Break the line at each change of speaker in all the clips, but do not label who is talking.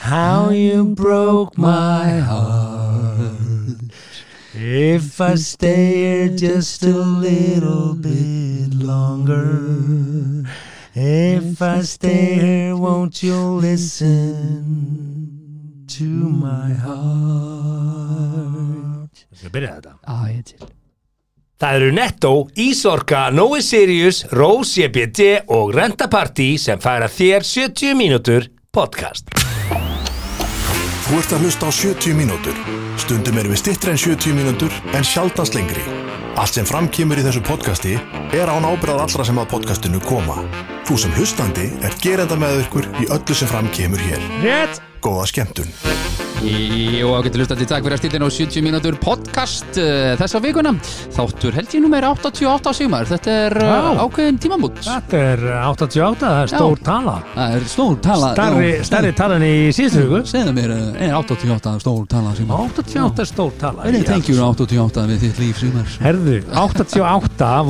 How you broke my heart. If I stay here just a little bit longer. If I stay here, won't you listen to my heart? Þetta byrjaði þetta.
Á, ég er til
Það eru Netto, Ísorka, Nói Sirius, Rose EBD og Renta Party sem færa þér 70 mínútur podcast.
Þú ert að hlusta á 70 mínútur. Stundum erum við stittri en 70 mínútur en sjaldast lengri. Allt sem framkýmur í þessu podcasti er án ábyrðar allra sem að podcastinu koma. Þú sem hlustandi er gerenda með ykkur í öllu sem framkýmur hér.
Rétt!
Góða skemmtun.
Jó, ágættu lustandi, takk fyrir að stilla nú 70 mínútur podcast uh, þessa vikuna Þáttur held ég númer 88 á sigmar Þetta er uh,
Já.
ákveðin tímamút
Þetta er 88, það er stór
Já.
tala.
Það er stór tala
Starri, starri talan í síðustu hugu.
Segðu mér, uh, er 88 stór tala sigmar?
88 er stór tala.
Hvernig tengjur 88 við þitt líf sigmar?
Herðu, 88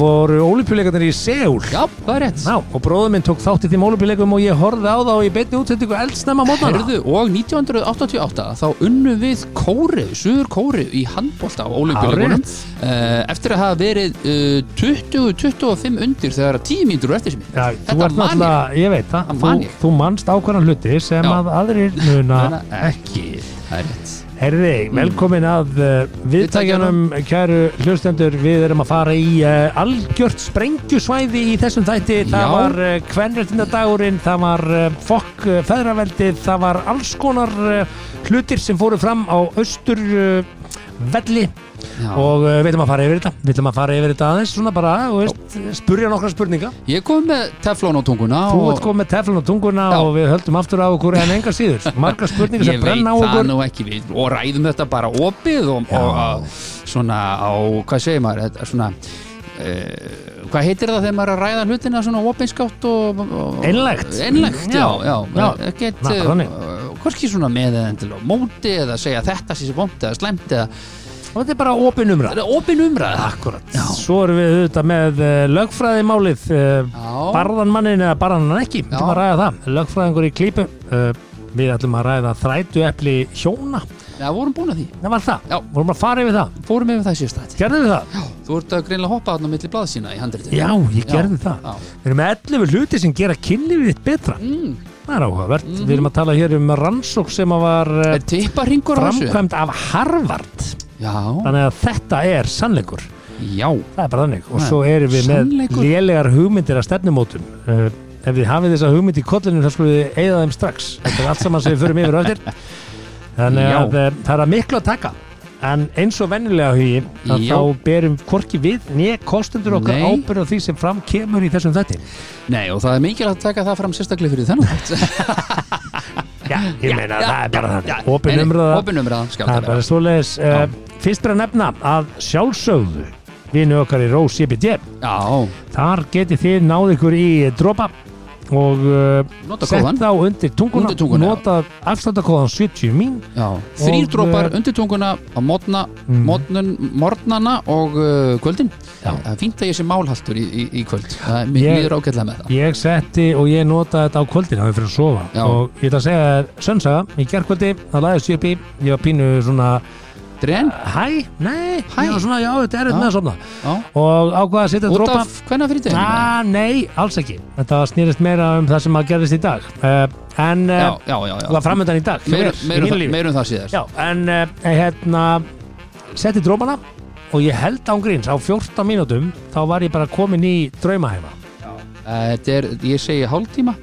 voru ólipjuleikarnir í Seúl.
Já, það er rétt
Já, og bróður minn tók þátt í þeim ólipjuleikum og ég horfði á þá og ég beinti útsendingu eldsnemma mótnana.
Herðu, og 1988 þá unnum við Kórið, Suður Kórið í handbólta á óleikulíkunum eftir að hafa verið uh, 20-25 undir þegar 10 mínútur eru eftir sem
Já, þú
Þetta
ert
man ég.
náttúrulega, ég veit það,
Það
þú,
man ég.
þú manst ákvarðan hluti sem
Já.
að aðrir muna
Muna
ekki.
Það er rétt
Herði,
Mm.
velkomin að uh, viðtækjanum, kæru hlustendur, við erum að fara í uh, algjört sprengjusvæði í þessum þætti.
Já.
Það var uh, kvenréttindadagurinn, það var uh, fokk uh, feðraveldið, það var alls konar uh, hlutir sem fóru fram á austur uh, velli
Já.
og uh, við ætlum að fara yfir þetta. Við ætlum að fara yfir þetta aðeins svona bara, þú veist, spurja nokkra spurninga.
Ég kom með teflón á tunguna
Þú
og-
ert komið með teflun og tunguna
Já.
og við höldum aftur á okkur en enga síður. Margar spurningar
Ég
sem
veit
brenna á
það
okkur.
nú ekki við og ræðum þetta bara opið og, og að, svona á, hvað segir maður þetta, svona Uh, hvað heitir það þegar maður er að ræða hlutina svona opinskátt og, og
Einlægt.
Einlægt, já,
Já,
já,
já.
Ekkert,
Na, þannig.
uh, hvorki svona með eða endilega á móti eða segja þetta sé sér bóndi eða slæmt eða
Og þetta er bara opin umræð.
það er opin umræða
Akkurat.
Já.
Svo erum við auðvitað með uh, lögfræðimálið, uh,
Já.
barðan mannin eða barðan hann ekki, við ætlum
Já.
að ræða það, lögfræðingur í klípu, uh, við ætlum að ræða þrætu epli hjóna,
Já, vorum búin að því,
það var það,
Já.
vorum að fara yfir það,
fórum yfir það sérstætt
gerðum við það?
Þú ert að greinlega hoppa þarna á milli blaðsína í handritinu
Já, ég gerði það.
já.
Við erum með 11 hluti sem gera kynlífið þitt betra,
Mm, Mhm.
það er áhugavert, við erum að tala hér um rannsók sem að var uh,
Er tippa ringur á þessu?
framkvæmt af Harvard,
Já,
þannig að þetta er sannleikur.
já
Það er bara þannig og
Það er
svo erum við
sannleikur.
með lélegar hugmyndir að stefnumótum uh, Ef þið hafið þessa hugmynd í kollinu þá skulum við eigða þeim strax Þetta er allt saman sem við förum yfir á eftir Þannig
Já.
að uh, það er að miklu að taka En eins og vennilega hugi að
Já.
þá berum hvorki við né kostendur okkar
Nei.
ábyrð á því sem fram kemur í þessum þætti
Nei og það er mikilvægt að taka það fram sérstaklega fyrir þennan þátt.
Já, ég meina
já,
það er bara
já, já.
þannig Opin
Nei, nei,
umröða
Opin umræða,
Það er
skjáttanlega
bara svoleiðis uh, Fyrst er að nefna að sjálfsögðu Vinu okkar í Rós IBD
Já,
Þar getið þið náð ykkur í dropa og uh,
Nota
sett
kóðan.
þá undir tunguna,
Undir tunguna, já.
nota afslutakóðan 70 mín
já Þrýr
Og,
drópar
eh,
undir tunguna á mótna,
Mhm.
mótnun, mornana og uh, kvöldin
Já.
Það er fínt að ég sé málhaltur í, í, í kvöld Það er mér
Ég-
líður ágætlega með það
ég setti og ég notaði þetta á kvöldin þá ég fyrir að sofa
Já.
og ég ætla að segja þér sönnsaga í gerkvöldi, það lagðist ég upp í ég var pínu svona,
Dren,
hæ, nei
Hæ?
ég var svona, já, þetta er
Já.
þetta með að sofna
já,
og ákvaða að setja
út
dropa
af hvenna fyrir deginu
Ah, nei, alls ekki Þetta snýrist meira um það sem að gerðist í dag uh, En
Já,
uh,
já, já,
það
já.
framöndan í dag hjá
Meir,
mér, í
meir,
mínu
um það,
lífi.
meir um það síðar
Já, en uh, hérna setti drómana og ég held án gríns á 14 mínútum þá var ég bara komin í draumahæma
Eh, Þetta er, ég segi hálftíma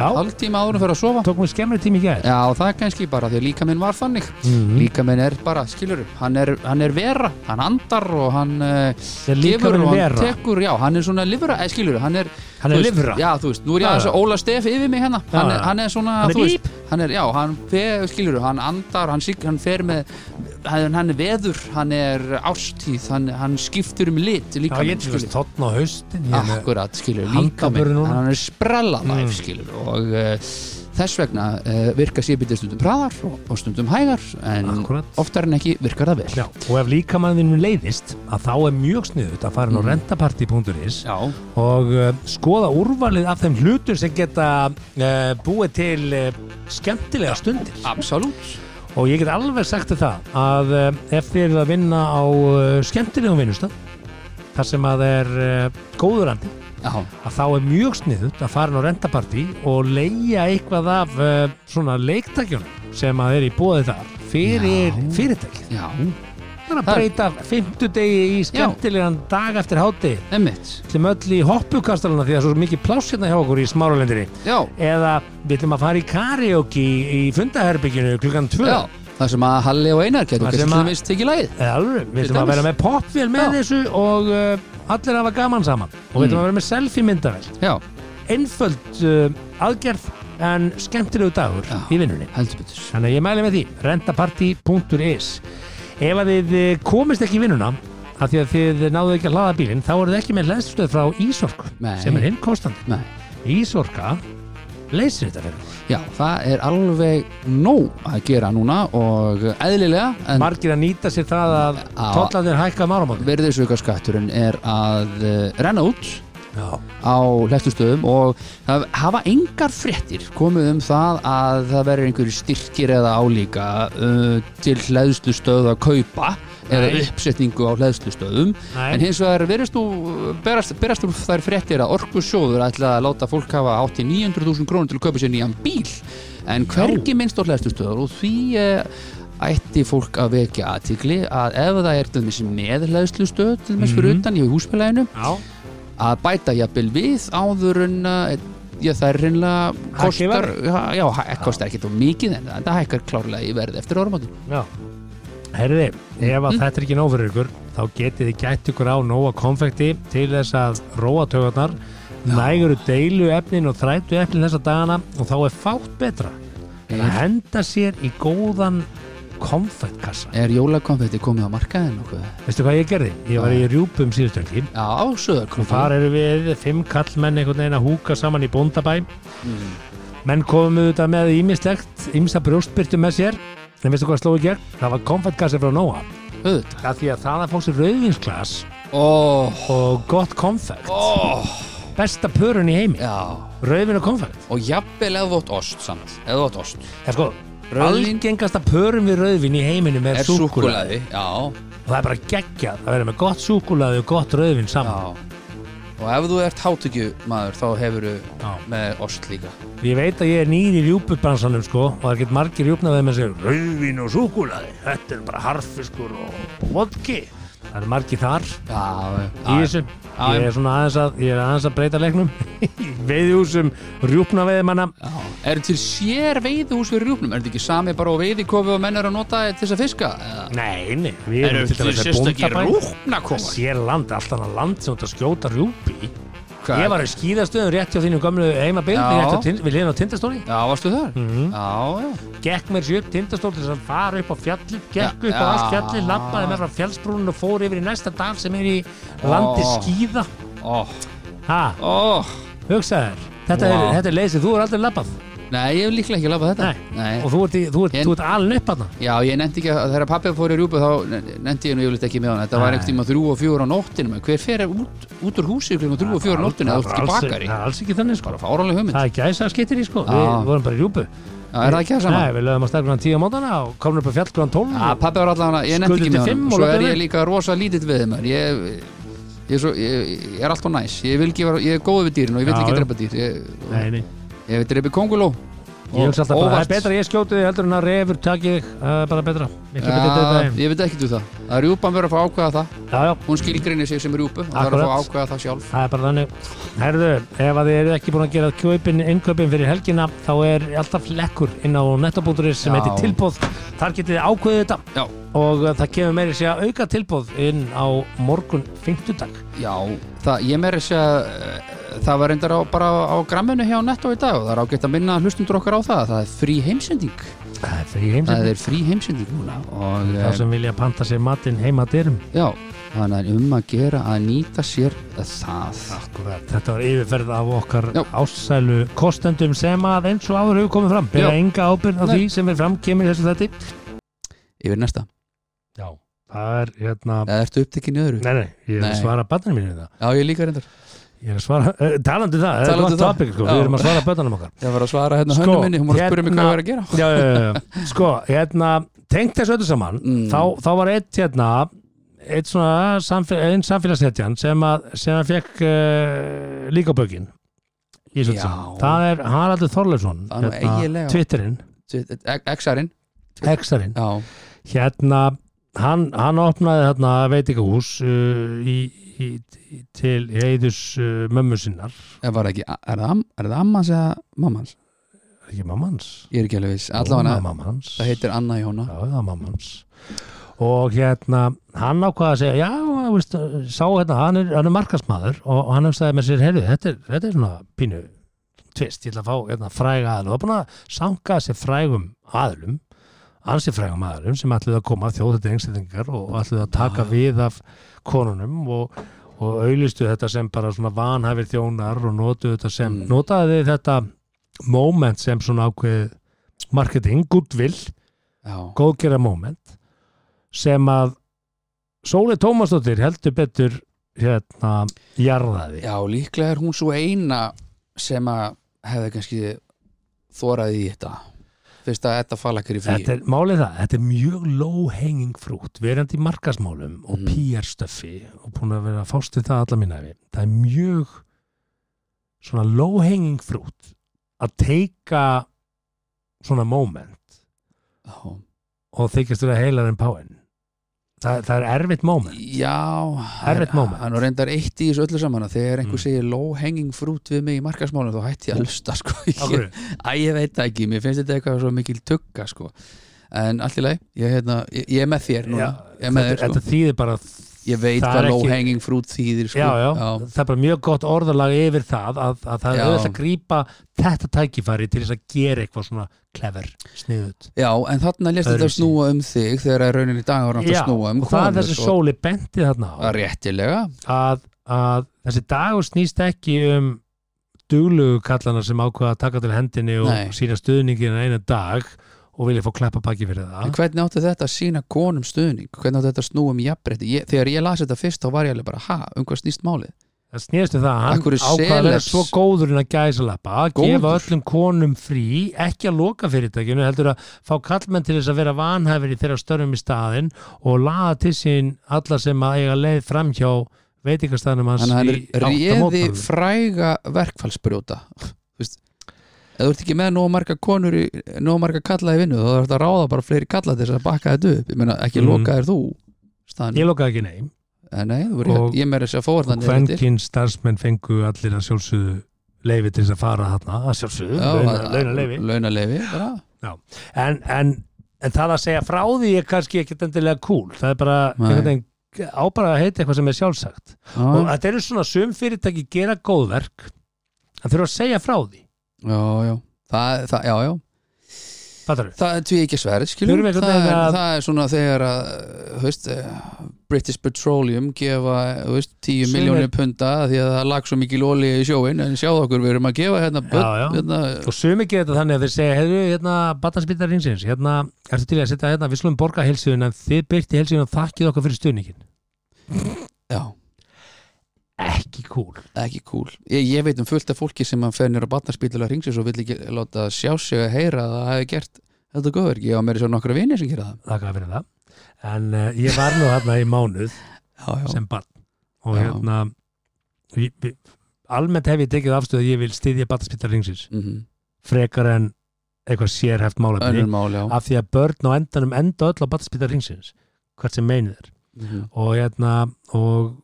Já,
Hálftíma árum fyrir að sofa
tók mér skemmri tími í gæð
Já, það er kannski bara því að líka minn var þannig
Mhm.
Líka minn er bara, skilur hann er, hann er vera, hann andar og hann uh,
Ég er líka
gefur
verið
og hann
vera
tekur, já, hann er svona livra, eh, skilur hann er,
Hann
þú
er
veist,
livra.
Já, þú veist, nú er ég
Já,
aðeins
já.
að Óla Stefi yfir mig hérna, hann
Já,
er,
já.
hann er svona
Hann er
þú
bíp.
veist, hann er, já, hann fer, skilur hann andar, hann, sig, hann fer með hann, hann er veður, hann er ástíð, hann, hann skiptur um lit
Já,
líka
ég
minn,
er til
skilur
þess tóttn á
Ah,
haustin ég er með-
Akkurat, skilur, líka
handknappurinn
minn
núna.
hann er sprella
Mm.
skilur, og uh, þess vegna uh, virka síðbítið stundum praðar og, og stundum hægar en
Akkúrat.
oftar en ekki virkar það vel
Já, og ef líkamanninu leiðist að þá er mjög sniðut að fara inn á
Mm.
rentaparty.is
Já,
og uh, skoða úrvalið af þeim hlutum sem geta uh, búið til uh, skemmtilega stundir
absolutt
og ég get alveg sagt þér það að uh, ef þið eruð að vinna á uh, skemmtilegum vinnustöð þar sem að er uh, góðurandi
Já,
að þá er mjög sniðut að fara inn á rentapartí og leia eitthvað af uh, svona leiktakjunum sem að er í búið þar fyrir
Já.
fyrirtækið
já,
Það er að
Það er-
breyta fimmtudegi í skemmtilegan dag eftir háti
emmitt
Við ætlum öll í hoppukastaluna því að það er svo mikið pláss hérna hjá okkur í smáralendinni
Já,
eða við ætlum að fara í karaoke í, í fundaherbygginu klukkan 2
já, það sem að Halli og Einar getur
Það
kannski
sem
til
að-
dæmis tekið lagið
eða alveg, við
Til
ætlum að
dæmis.
vera með popvél með
Já. Mm.
þessu og uh, allir hafa gaman saman og við ætlum að vera með selfie myndavel
Já,
einföld uh, aðgerð en skemmtilegu dagur
Já.
í vinnunni
heldur betur
Þannig að ég mæli með því, rentaparty.is Ef að þið eh, komist ekki í vinnuna af því að þið náðu ekki að hlaða bílinn þá eru þið ekki með hlæðstöð frá Ísorku
Nei.
sem er innkostandi.
Nei.
Ísorka leysir þetta fyrir okkur.
Já, það er alveg nóg að gera núna og eðlilega en
Margir að nýta sér það að
Á.
tóllandir hækka um áramóti
verðisaukaskatturinn er að eh, renna út á hlættustöðum og það hafa engar fréttir komið um það að það verður einhverju styrkir eða álíka uh, til hlæðslustöð að kaupa eða
Nei.
uppsetningu á hlæðslustöðum
Nei.
en hins vegar verðist þú berast, berast úr þær fréttir að orkusjóður ætla að láta fólk hafa átti 900.000 krónur til að kaupa sér nýjan bíl en hvergi minnst á hlæðslustöður og því uh, ætti fólk að vekja aðtigli að ef það er til dæmis með hlæðslustöð til dæmis fyrir
Mhm.
utan í húsfélaginu
Já,
að bæta jafnvel við áður en að já, það er reynlega
Hækki
kostar, já, já, hæ- eh, kostar ekkert og mikið en það hækkar klárlega í verð eftir orðmátum
já Herði, ef að þetta er ekki nóg fyrir ykkur þá getið þið gætt ykkur á nóga konfekti til þess að róa tögarnar nægur deilu efnin og þrætu efnin þessa dagana og þá er fátt betra en að
er,
henda sér í góðan konfektkassa.
er jólakonfetti komið á markaðin og hvað
Veistu hvað ég gerði? Ég var í rjúpum síðustöngi
já, á
og þar
söðarkrónum
eru við fimm kallmenn einhvern veginn að húka saman í bóndabæ menn komum við þetta með ímislegt ímsa brjóstbyrtu með sér en veistu hvað sló í gegn? Það var konfektkassi frá Nóa
auðvitað Oh,
af því að það að fá sér rauðvinsglas
ó,
og gott konfekt
ó,
besta pörun í heimi,
oh, já
rauðvin og konfekt
og jafnvel ef þú átt ost samt ef þú átt ost
en sko,
Rauðvín-
algengasta pörun við rauðvin í heiminum er,
er
er súkulaði
súkulaði já,
og það er bara geggjað að vera með gott súkulaði og gott rauðvin
já
saman
og ef þú ert hátökju maður þá hefur þú
Já.
með ost líka
Ég veit að ég er nýr í rjúpubransanum sko og það get margir rjúpnaðið með sig Rauðvín og súkulaði, þetta er bara harfiskur og vodki Það eru margir þar í
já,
þessu Ég er svona aðeins að, ég er aðeins að breyta leiknum Veiðjúsum rjúpnaveiðimanna
Já, eru til sér veiðhús fyrir rjúpnum? Er þetta ekki sami bara á veiðikofi og menn eru að nota til þess að fiska? Eða?
Nei, nei, við erum til dæmis að bóndabæ
rjúpnakofar?
Sér land, allt annað land sem þú ert að skjóta rjúpi
Hvað?
Ég var í skíðastöðum rétt hjá þínu gömlu heimabyld
Já.
rétt hjá Tind- Við liðum á tindastóli
Já, varstu þar?
Mhm.
Já, já.
gekk mér sér upp tindastól til þess að fara upp á fjallið, gekk
Ja,
upp á allt
ja.
fjallið, lappaði með frá fjallsbrúnun og fór yfir í næsta dal sem er í landi
Ó.
skíða.
Ó,
Ha,
ó.
hugsaði þér, þetta,
Vá.
er, þetta er leysið, þú er aldrei lappað
Nei, ég hef líklega ekki lafað þetta.
Nei. og þú ert, í, þú ert,
En-
þú ert aln upp aðna.
Já, ég nefndi ekki að þegar pappi fór í rjúpu þá nefndi ég nú yfirleitt ekki með hann. Þetta var
Nei.
einhvern tíma þrjú og fjóra á nóttinu. maður. Hver fer út, út úr húsi klukkan þrjú og fjóra á nóttinu eða út til bakari?
Það er alls ekki þannig sko.
Bara fárálega hugmynd.
Það er gæsa skittir í sko,
Já.
við vorum bara í rjúpu.
Já, er það ekki það sama? Ah,
Nei, við lögum á stærkvæðan tíu á mótana og komum upp á fjallgræðan tólun.
Já, pappi var allavega, ég nefndi
Skuldir
ekki
til
með
fimm
honum
og
Svo er
labbaðu
ég
inn.
líka rosa lítill við þeim ég, ég, er svo, ég, ég er alltaf næs Ég, vil ekki, vera- ég er góð við dýrin og ég vil
Já,
ekki
já.
drepa dýr Ég,
Nei, nei.
ég vil drepa konguló
Ég hugsa alltaf bara, það er
óvart.
betra að ég skjóti þig heldur en að refur taki þig, það er bara betra. Miklu betur þetta
Já,
daginn.
Ég veit ekki þú það Það er rjúpan verið að fá að ákveða það
Já, já,
Hún skilgrinir sig sem rjúpu og það er að fá að
Akkurat.
ákveða það sjálf
Það er bara þannig. Herðu, ef að þið eru ekki búin að gera kaupin, innkaupin fyrir helgina, þá er alltaf lekkur inn á nettabúnduris sem
Já.
heitir tilbóð. Þar getið þið ákveðið þetta
Já,
og uh, það kemur meiri sér að auka tilbóð inn á morgun 50 dag.
já það, Ég meira þess að segja, eh, það var reyndar á, bara á gramminu hjá Netto í dag og það er ágætt að minna hlustundur okkar á það það er frí heimsending
Það er frí
það
heimsending
er frí heimsending núna og
Það sem vilja panta sér matinn heima dyrum
eh, já, þannig að um að gera að nýta sér það
Akkurat. Þetta var yfirferð af okkar
Já.
ásælu kostendum sem að eins og áður hefur komið fram bera
Já.
enga ábyrgð á
Nei.
því sem er fram kemur í þessu þetta
yfir næsta,
Já, það er hérna
eða ertu upptekinn í öðru
Nei, nei, ég er
Nei.
að svara banninu mínu það
já, ég líka reyndar,
Ég er að svara, uh, talandi um það, það er
Talandi um
gott
það.
topic sko,
Já.
við erum að svara bönnum okkar
ég var að svara hérna
Sko,
hönnu minni, hún var að spyrja mig hvað
hérna-
ég var að gera
já, já, já, já. sko, hérna tengt þessu öllu saman
Mm.
þá, þá var eitt hérna eitt svona samfél, einn samfélagshetjan sem að, sem að fekk uh, líka bökin í þessu öllu
Já.
saman. það er Haraldur Þorleifsson hérna,
Það er nú eiginlega.
Twitterinn,
X-arinn,
Exarinn
e- já,
hérna, hann, hann opnaði hérna veitingahús uh, í, í, í, til heiðus uh, mömmu sinnar,
ég var ekki er það, am- er það ammans eða mammans?
ekki mammans
ég er ekki alveg viss, allavega
mammans
það heitir Anna Jóna
Já, það var mamma hans og hérna, hann ákvaða að segja já, veist, sá hérna, hann er, hann er markasmaður og, og hann hefstaði með sér, heyrðu, þetta er, þetta er svona pínu tvist, ég ætla að fá hérna, fræga aðlum, og búin að sanga sér frægum aðlum ansi frægum aðlum sem ætluðu að koma þjóðhætti engstæðingar og ætluðu að taka við af konunum og, og auðlistu þetta sem bara svona vanhæfir þjónar og notuðu þetta sem
Mm.
notaði þið þetta moment sem svona ákveð marketing, goodwill
já,
góðgerða moment sem að Sóli Tómasdóttir heldur betur hérna jarðaði
Já, líklega er hún svo eina sem að hefði kannski þóraði í þetta fyrst að þetta falla ekki í frí
þetta er málið það, þetta er mjög low hanging fruit, verandi í markasmálum og
Mm.
PR stöfi og búin að vera að fást við það alla mína við það er mjög svona low hanging fruit að teika svona moment
Já,
og þykist vera heilar en páinn það, það er erfitt moment
Já
Erfitt moment.
Hann var reyndar eitt í þessu öllu saman að þegar einhver
Mm.
segir low hanging fruit við mig í markasmálum þá hætti ég að lusta sko
Af hverju?
Æ, ég veit það ekki, mér finnst þetta eitthvað svo mikil tugga sko En allt í lagi, ég, hérna, ég, ég er með þér núna
Já,
Ég er með
þetta,
þér sko
þetta þýðir bara
Ég veit
það er
hvað low
ekki-
hanging fruit þýðir sko
já, já, það er bara mjög gott orðalag yfir það að, að það er
Já.
auðvitað að grípa þetta tækifæri til þess að gera eitthvað svona clever, sniðut
Já, en þarna lest þetta
Öðruvísi.
snúa um þig þegar að rauninni í dag var náttúrulega að snúa um
og það er
konur
þessi
og-
sóli bendi þarna á
Að Réttilega
að, að þessi dagur snýst ekki um duglugu kallana sem ákvaða að taka til hendinni og
Nei.
sína stuðningin en einu dag og vilja fá klappa baki fyrir
En
það
hvernig átti þetta að sína konum stuðning? Hvernig átti þetta að snúa um jafnbreytti? Ég, þegar ég las þetta fyrst þá var ég alveg bara, ha, um hvað snýst málið?
það snýst um það að hann
Af hverju
ákvaða að vera
celebs-
svo góður en að gæsa lappa að gefa
Góður?
öllum konum frí ekki að loka fyrirtækinu, heldur að fá kallmenn til þess að vera vanhæfir í þeirra störfum í staðinn og laða til sín alla sem að eiga leið framhjá veitingastæðnum hans
Þannig
í
að
átta
hann réði
mótmælum.
fræga verkfallsbrjóta. Þú veist, ef þú ert ekki með nóg marga konur, í, nóg marga kalla í vinnu, þá þarf þetta að ráða bara fleiri kalla til þess að bakka þetta upp. Ég meina, ekki
Mm.
loka þér þú, staðan.
ég lokaði ekki neim
En nei, þú verður,
Og-
ég meira þess að fóra þannig eftir.
kvenkinn starfsmenn fengu allir að sjálfsögðu leifi til þess að fara þarna að sjálfsögðu,
Já,
launa,
að-
launa leifi
Launaleifi, bara.
en, en, en það að segja frá því er kannski ekkert endilega cool það er bara
Nei.
einhvern veginn á bara að heita eitthvað sem er sjálfsagt og
Já,
þetta eru svona sum fyrirtæki gera góðverk en þurfa að segja frá því
já, já. Það, það, já, já.
Fattaru?
Það er tví ekki sverð, skilur
Þurfum við
það,
einhvern
er-
veginn að-
það er svona þegar að þú veist, eh, British Petroleum gefa þú veist, 10
Sumir-
miljónir punda af því að það lag svo mikil olíu í sjóin en sjáðu okkur, við erum að gefa hérna, börn,
Já, já.
hérna
og sumi gera þetta þannig að þeir segja heyrðu, hérna, batnarspýtar rinsins, hérna ertu til í að setja hérna, við slumum borga helsiðun en þið byrti helsiðun og þakkið okkur fyrir stuðningin
já,
ekki cool
ekki cool ég, ég veit um fullt af fólki sem að fennir á batnarspítulega ringsins og vill ekki láta sjá sig að heyra að það hefði gert þetta góður ég á meiri svo nokkra vini sem gera það
þakka fyrir það en uh, ég var nú hérna í mánuð
já, já,
sem barn og
Já.
hérna ég- ég- almennt hef ég tekið afstöð að ég vil styðja batnarspýtar rinsins
mm
frekar en eitthvað sérhæft málefni
önnur mál, já
af því að börn á endanum enda öll á batnarspýtar rinsins hvert sem meinu þeir
mm -hmm.
og hérna og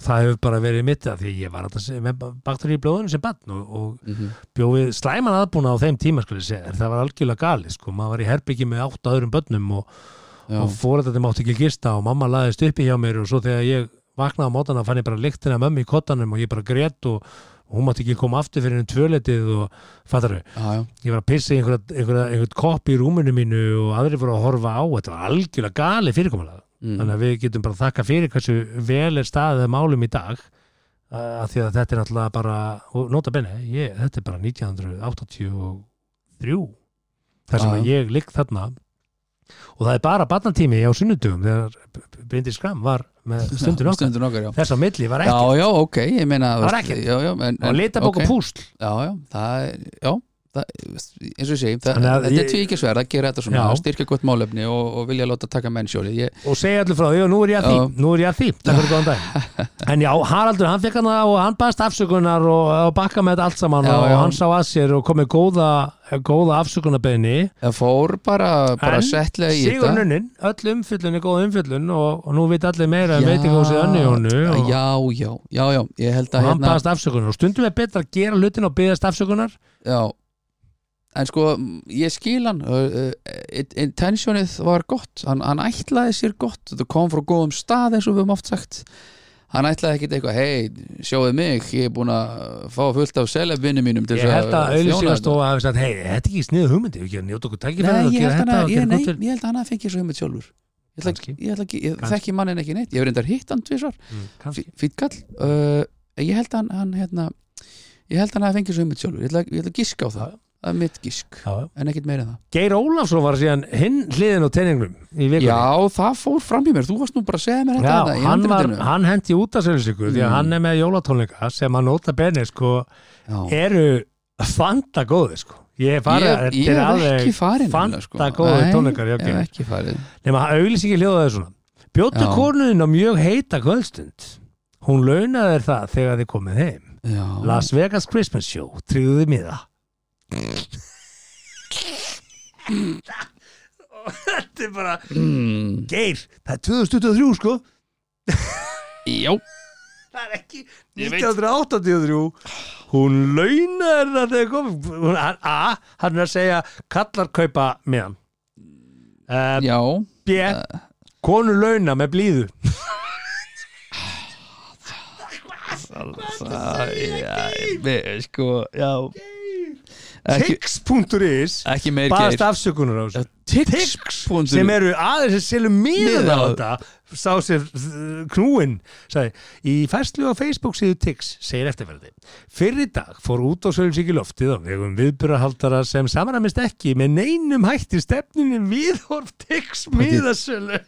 það hefur bara verið mitt af því að ég var alltaf með baktur í blóðinu sem barn og, og
Mhm.
bjóði slæman aðbúna á þeim tíma skulle ég segja, það var algjörlega gali sko, maður var í herbyggi með átta öðrum börnum og,
já,
og fóreldandi mátti ekki gista og mamma laðist uppi hjá mér og svo þegar ég vaknaði á mótana fann ég bara lyktina af mömmu í kottanum og ég bara grét og og hún mátti ekki koma aftur fyrir enn tvöletið og fattar þau,
já, já.
ég var að pissa í einhverja, einhverja, einhvern kopp í rúminu mínu og aðrir voru að horfa á, þetta var algjörlega gali fyrirkomulega,
Mm.
þannig að við getum bara þakka fyrir hversu vel er staðið málum í dag að því að þetta er náttúrulega bara, og nota benni ég, þetta er bara 1983 þar sem
Já,
að ég ligg þarna og það er bara barnatími á sunnudugum þegar Bindi Skram var með stundin okkar
Stundin okkar, já
þess á milli var ekki,
Já, já, ok, ég meina
Það var
veist,
ekkert.
Já, já, en,
og
en
litabók
ok.
og púsl
Já, já, það er, já það, eins og ég segi, það,
Þannig að
þetta er
ég-
tvíkisverð að gera þetta svona,
Já.
að styrkja gott málefni og, og vilja láta taka menn sjóli ég,
og segja allir frá því og nú er ég að því,
Já.
nú er ég að því takk fyrir góðan dag en já, Haraldur, hann fekk hann og hann baðst afsökunar og, og bakka með þetta allt saman
Já,
og
já.
hann sá að sér og kom með góða, góða afsökunarbeðni
Það fór bara, bara
En
settlega í
Sigur
þetta
nunnin, öll umfyllun er góð umfyllun og, og nú veit allir meira um
Já.
veitingahúsið önni honu og,
Já, hérna. já, já, já, ég held
og
að
hann baðst afsökunar og stundum er betra að gera hlutin og beðast afsökunar
Já En sko, m, ég skil hann uh, uh, it- Intentionið var gott hann, hann ætlaði sér gott, þetta kom frá góðum stað eins og við höfum oft sagt Hann ætlaði ekkit eitthvað, hei, sjáðu mig ég er búin að fá fullt af selefvinni mínum til
ég
þess
held að sko
þjóna
auðvitað
þetta."
og hafi sagt, hei, þetta er ekki sniðu hugmyndi við gerum njóta okkur tækifæri
Nei,
og
ég
gera
held hann
þetta
að
og
ég,
gera
nei,
gott til
ég held að hann að fengi svo hugmynd sjálfur Ég ætla,
Kannski.
ekki- ég ætla ekki, ég
Kannski.
þekki mannin ekki neitt Ég hef reyndar hitt hann tvisvar,
Mm, kannski.
fýtt kall uh, Ég held hann, hann hérna Ég held hann að fengi svo hugmynd sjálfur Ég ætla, ég ætla að giska á það, það er mitt gisk
Já, já.
En ekkit meira en það
Geir Ólafsson var síðan hinn hliðin á tenningnum í vikunni
Já, það fór fram í mér, þú varst nú bara að segja mér þetta
Já,
hérna í
hann, var,
handritinu.
hann hendi út af sér sigur því að
Mm.
hann er með jólatónleika sem að nota benni sko
Já.
eru fanta góði sko ég hef farið,
ég, ég
þetta er
er ekki
alveg
farin
sko. fanta góðir tónleikar, já,
ég
ok.
er ekki farin
nema að auglýsingi hljóðaði svona bjóttu
Já.
konuðin á mjög heita kvöldstund hún launaði þér það þegar þið komið heim
já.
Las Vegas Christmas Show, tryggðuði miða Þetta er bara
Mm,
Geir, það er 2023 sko
já,
það er ekki
Ég veit.
1983 hún launar það þegar kom hún, hann- a, hann er að segja kallar kaupa meðan uh,
já eh.
b, konu launa með blíðu
Það, já, við- sko, já Ekki,
tix.is
ekki meir
baðast
geir
afsökunar á þessu
Tix punktur
sem eru aðeins sem selur miða á
Miða á-
þetta sá sér uh, knúinn sagði, í færslu á Facebook síðu Tix segir eftirferði fyrir dag fór út á sölsík í loftið á vegum viðburahaldara sem samanamist ekki með neinum hætti stefninu viðhorf Tix miðasölu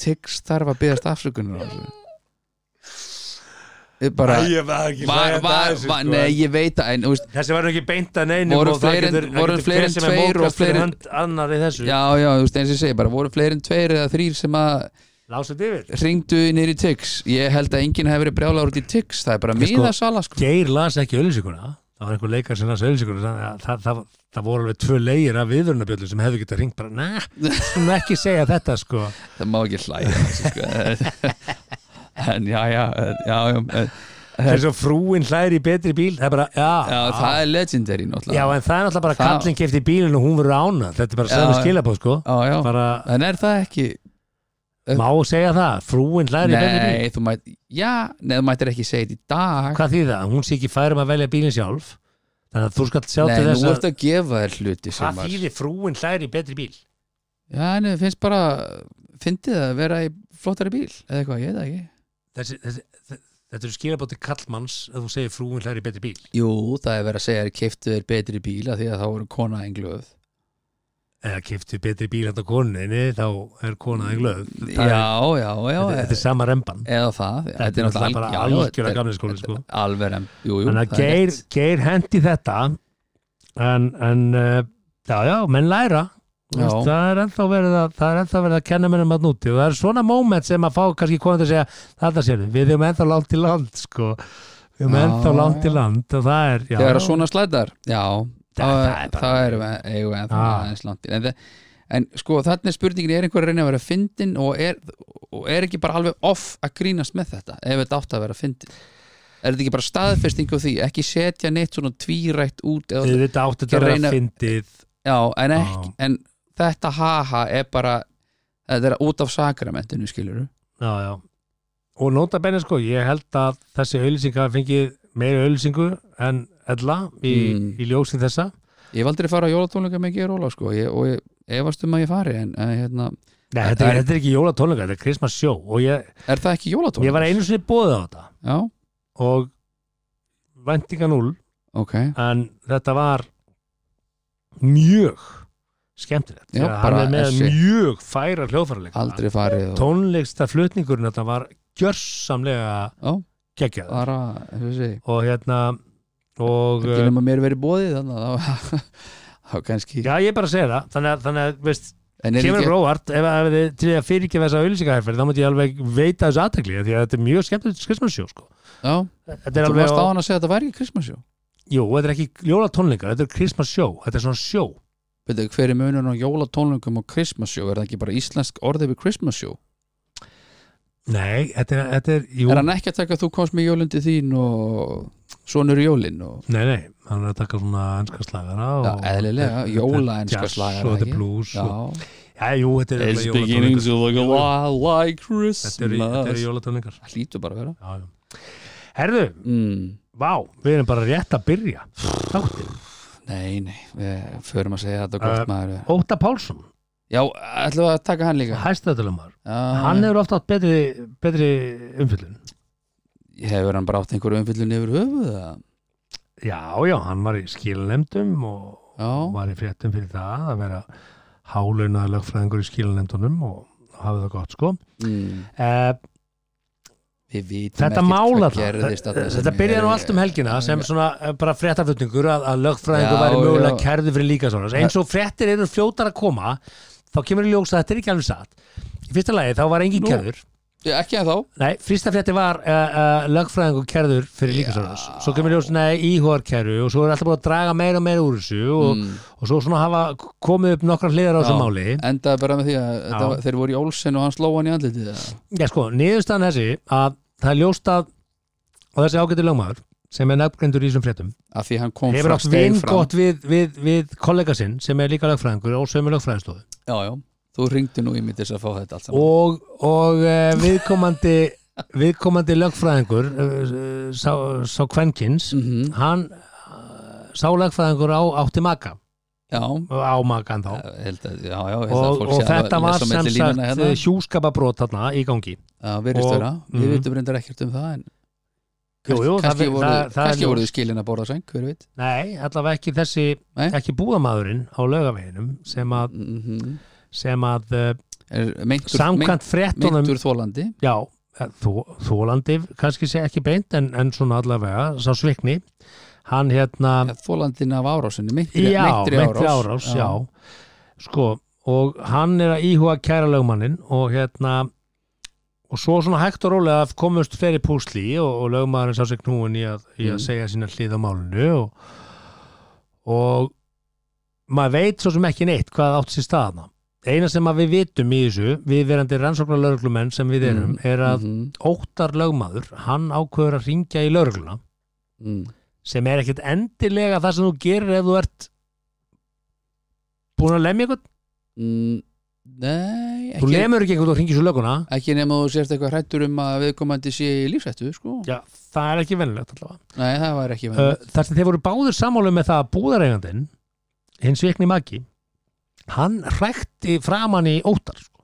Tix þarf að byggast afsökunar á þessu Ég bara
Æ, ég var ekki
var,
hlæjandi að
var,
þessu,
var,
sko.
nei, ég veit að, en, þú veist
þessi var nú ekki beint að neinum
Voru
og það
fleiri en-
getur- það
voru
getur
fleiri
hver
en
sem er
tveir og
móðgast fyrir
fleiri-
hönd annar í þessu
Já, já, þú veist, eins og ég segi bara, voru fleiri en tveir eða þrýr sem að
lásið yfir
ringdu niður í Tix Ég held að enginn hefur verið brjálar út í Tix Það er bara
Ég sko-
miðasala sko
Geir las ekki öllisíkuna það var einhver leikar sem las öllisíkuna það, það, það, það voru alveg tvö leigir af viðvörunabjöllum sem hefðu getað ringt bara næ, skulum ekki segja þetta sko
Það má ekki hlæja að þessu, sko. En já, já, já, já, já,
eins og frúin hlæðir í betri bíl það er bara, já,
já Það er legendary
já
náttúrulega
en það er náttúrulega bara
Það-
kallin kefti í bílinu og hún verður ána þetta er bara
Já,
saman
já.
skilabóð sko
Já, já,
bara,
en er það ekki
má segja það, frúin hlæðir í betri bíl
Nei, þú mætt Já, nei, þú mættir ekki segja þetta í dag
hvað þýð það, hún sé ekki færum að velja bílin sjálf þannig að þú skalt sjá
Nei,
til
nú
þess að
ertu að gefa þér hluti sem
hvað
var
þýðir frúin hlæðir í betri bíl
Já, en þið finnst bara Fyndið að vera í flottari bíl Eða eitthvað, ég veit það ekki
þessi, þessi, þe- þetta eru skilabóti kallmanns að þú segir frúin hlæðir í betri bíl
Jú, það er verið að segja þér keiftu þér betri bíl af því að þá voru kona englöð
eða keftu betri bíl hægt á koninni þá er konaði glöð
Já, eh,
Það er-
já, já
þetta, þetta er sama remban
eða það
þetta er náttúrulega bara
já, þetta
algjörða
er-
gamli skóli sko.
þetta er alveg rem, jú, jú
þannig að
það er
geir,
rétt.
geir hendi þetta en, en uh, já já, menn læra Þú
Já.
veist, það er ennþá verið að það er ennþá verið að kenna mennum að núti og það er svona moment sem að fá kannski konandi að segja þetta séu, við erum ennþá langt í land sko, við erum
Já,
ennþá langt í
já.
land og það er, já,
þegar
já.
að svona slætar já,
það
það
er bara-
er það er eigum en
Ah.
það er slant en, það- en sko þarna er spurningin er einhver að reyna að vera fyndin og er, og er ekki bara alveg off að grínast með þetta ef þetta átt að vera fyndin er þetta ekki bara staðfesting á því ekki setja neitt svona tvírætt út eða,
þetta átti þetta að
Reyna-
vera fyndið
já, en,
Ah.
ekki, en þetta haha er bara þetta er út af sakramentinu skilur
já, já. og nota benni sko, ég held að þessi auðlýsing hafa fengið meira auðlýsingu en ella í,
Mm.
í ljósin þessa
Ég hef aldrei farið á jólatónleika með Geir Óla sko, ég, og ég efast um að ég fari en, en hérna,
Nei, þetta, er,
En-
þetta er ekki jólatónleika, þetta er Christmas show og ég,
er það ekki jólatónleika?
ég var einu sinni bóðið á þetta
Já,
og vendinga núl
ok
en þetta var mjög skemmtilegt
Já,
Þegar hann
bara
er með
þessi.
mjög færa hljóðfæralega
Aldrei farið og
tónleiksta flutningurinn þetta var gjörsamlega
Já,
geggjað
bara, þú sé
og hérna og eh,
ekki nema mér verið bóðið þannig að það- þá kannski
já ég er bara að segja það þannig að, þannig að veist,
En er
kemur
ekki,
ekki... róvart ef, ef þið til að fyrirgefa þessa auðlýsingahæfari þá múti ég alveg veita þessu aðtekli því að þetta er mjög skemmtilegt skristmannsjó sko.
já,
þetta er
þú
alveg
varst á
á,
hann að segja að þetta væri ekki Kristmansjó
jú, þetta er ekki jólatónleikar, þetta er kristamannsjó þetta er svona sjó
Veitu, hver er munur á jólatónleikum og Kristmansjó? Er það ekki bara íslensk orðið við Kristmansjó?
nei, þetta er, þetta er, jú,
Er hann ekki að taka að þú komst með jólundi þín og sonur jólin og
nei, nei, hann er að taka svona ennska slagara og,
Já, eðlilega,
þetta-
jólaenska
þetta er jazz
slagara,
og þetta
ekki?
er blues
Já,
og, já, jú, þetta er
it's
alveg
beginning
jólatónleikar
to look a lot like Christmas
þetta eru- þetta eru jólatónleikar
Það hlýtur bara að vera
Já, já. herðu,
mm.
vá, við erum bara rétt að byrja þáttir,
Nei, nei, við förum að segja þetta gott
Uh,
maður
Óta Pálsson
Já, ætlum við að taka hann líka
hæstættulegumar
Hann
hann hefur ofta átt betri, betri umfyllun
Hefur hann bara átt einhverju umfyllun yfir höfuð eða?
já, já, hann var í skilnemdum og
Já,
var í fréttum fyrir það að vera hálunað lögfræðingur í skilnemdunum og hafa það gott sko
mm.
eh,
við vitum
þetta
ekkert
mála
hvað gerðist þarna sem
þetta byrja nú
er-
allt um helgina sem svona eh, bara fréttaflutningur að, að lögfræðingur
Já,
væri mögulega
já.
kærði fyrir líka svona eins og fréttir eru fljótar að koma þá kemur í ljós að þetta er ekki alveg satt í fyrsta lagi þá var engin
Nú.
kærður
Já, Ekki að þá
Nei, fyrsta frétti var uh, uh, lögfræðing og kærður fyrir líkansárás svo kemur ljós neða íhóðar kæru og svo er alltaf búin að draga meira og meira úr þessu og,
Mm.
og svo svona hafa komið upp nokkrar hliðar á þessu
Já.
máli
Endaði bara með því að þetta, var- þeir voru í Olsen og hann sló hann í andlitið eða?
Já sko, niðurstaðan þessi að það er ljóst að og þessi ágæti lögmaður sem er nefngrendur í þessum fréttum
Af því hann kom
hefur
frá
átt vinn
steinfram.
gott við, við, við kollega sinn sem er líka lögfræðingur og sömu lögfræðistofu
Já, já, þú ringdi nú í mig til þess að fá þetta allt saman
og, og uh, viðkomandi viðkomandi lögfræðingur uh, sá, sá kvenkins
Mhm.
hann uh, sá lagfræðingur á, átti maka
Já,
á makan þá
Já, held að, já, já, held að
og,
fólk
og
sé alveg
þetta
að
var
lesa á
sem
milli
sagt
línanna hérna.
hérna. hjúskapabrót þarna í gangi
Já, virðist
og-
vera, við
mhm.
vitum reyndar ekkert um það en
Jú, jú, það-
kannski
það-
voru,
það er
kannski
ljós.
voru þau skilin að borða sæng, hver veit
nei, allavega ekki þessi
Nei.
ekki búðamaðurinn á laugaveginum sem að,
mm -hmm.
sem að uh,
meintur,
samkvæmt Mm. fréttunum
meintur þólandi
já, eh, þó, þólandi kannski sé ekki beint en, en svona allavega sá svikni hann hérna
ja, þólandin af árásinni, meintri,
já,
meintri,
meintri árás já. sko, og hann er að íhuga kæra lögmannin og hérna og svo svona hægt og rólega komust fleiri púsli og, og lögmaðurinn sá sig knúin í að, í að
Mm.
segja sína hlið á málinu og, og maður veit svo sem ekki neitt hvað átt sér staðna eina sem að við vitum í þessu við verandi rannsóknar lögreglumenn sem við erum
Mm.
er að
Mhm,
óttar lögmaður hann ákveður að ringja í lögregluna
mhm.
sem er ekkert endilega það sem þú gerir ef þú ert búin að lemja eitthvað
Mm, Nei,
þú
ekki,
lemur ekki eitthvað og hringir svo löguna
ekki nema þú sért eitthvað hrættur um að viðkomandi sé í lífsættu sko.
já, það er ekki venilegt allavega
Nei, það var ekki
uh,
með
þar sem þeir voru báður sammálu með það að búðareigandinn hins vekni maki hann hrækti framan í óttar sko.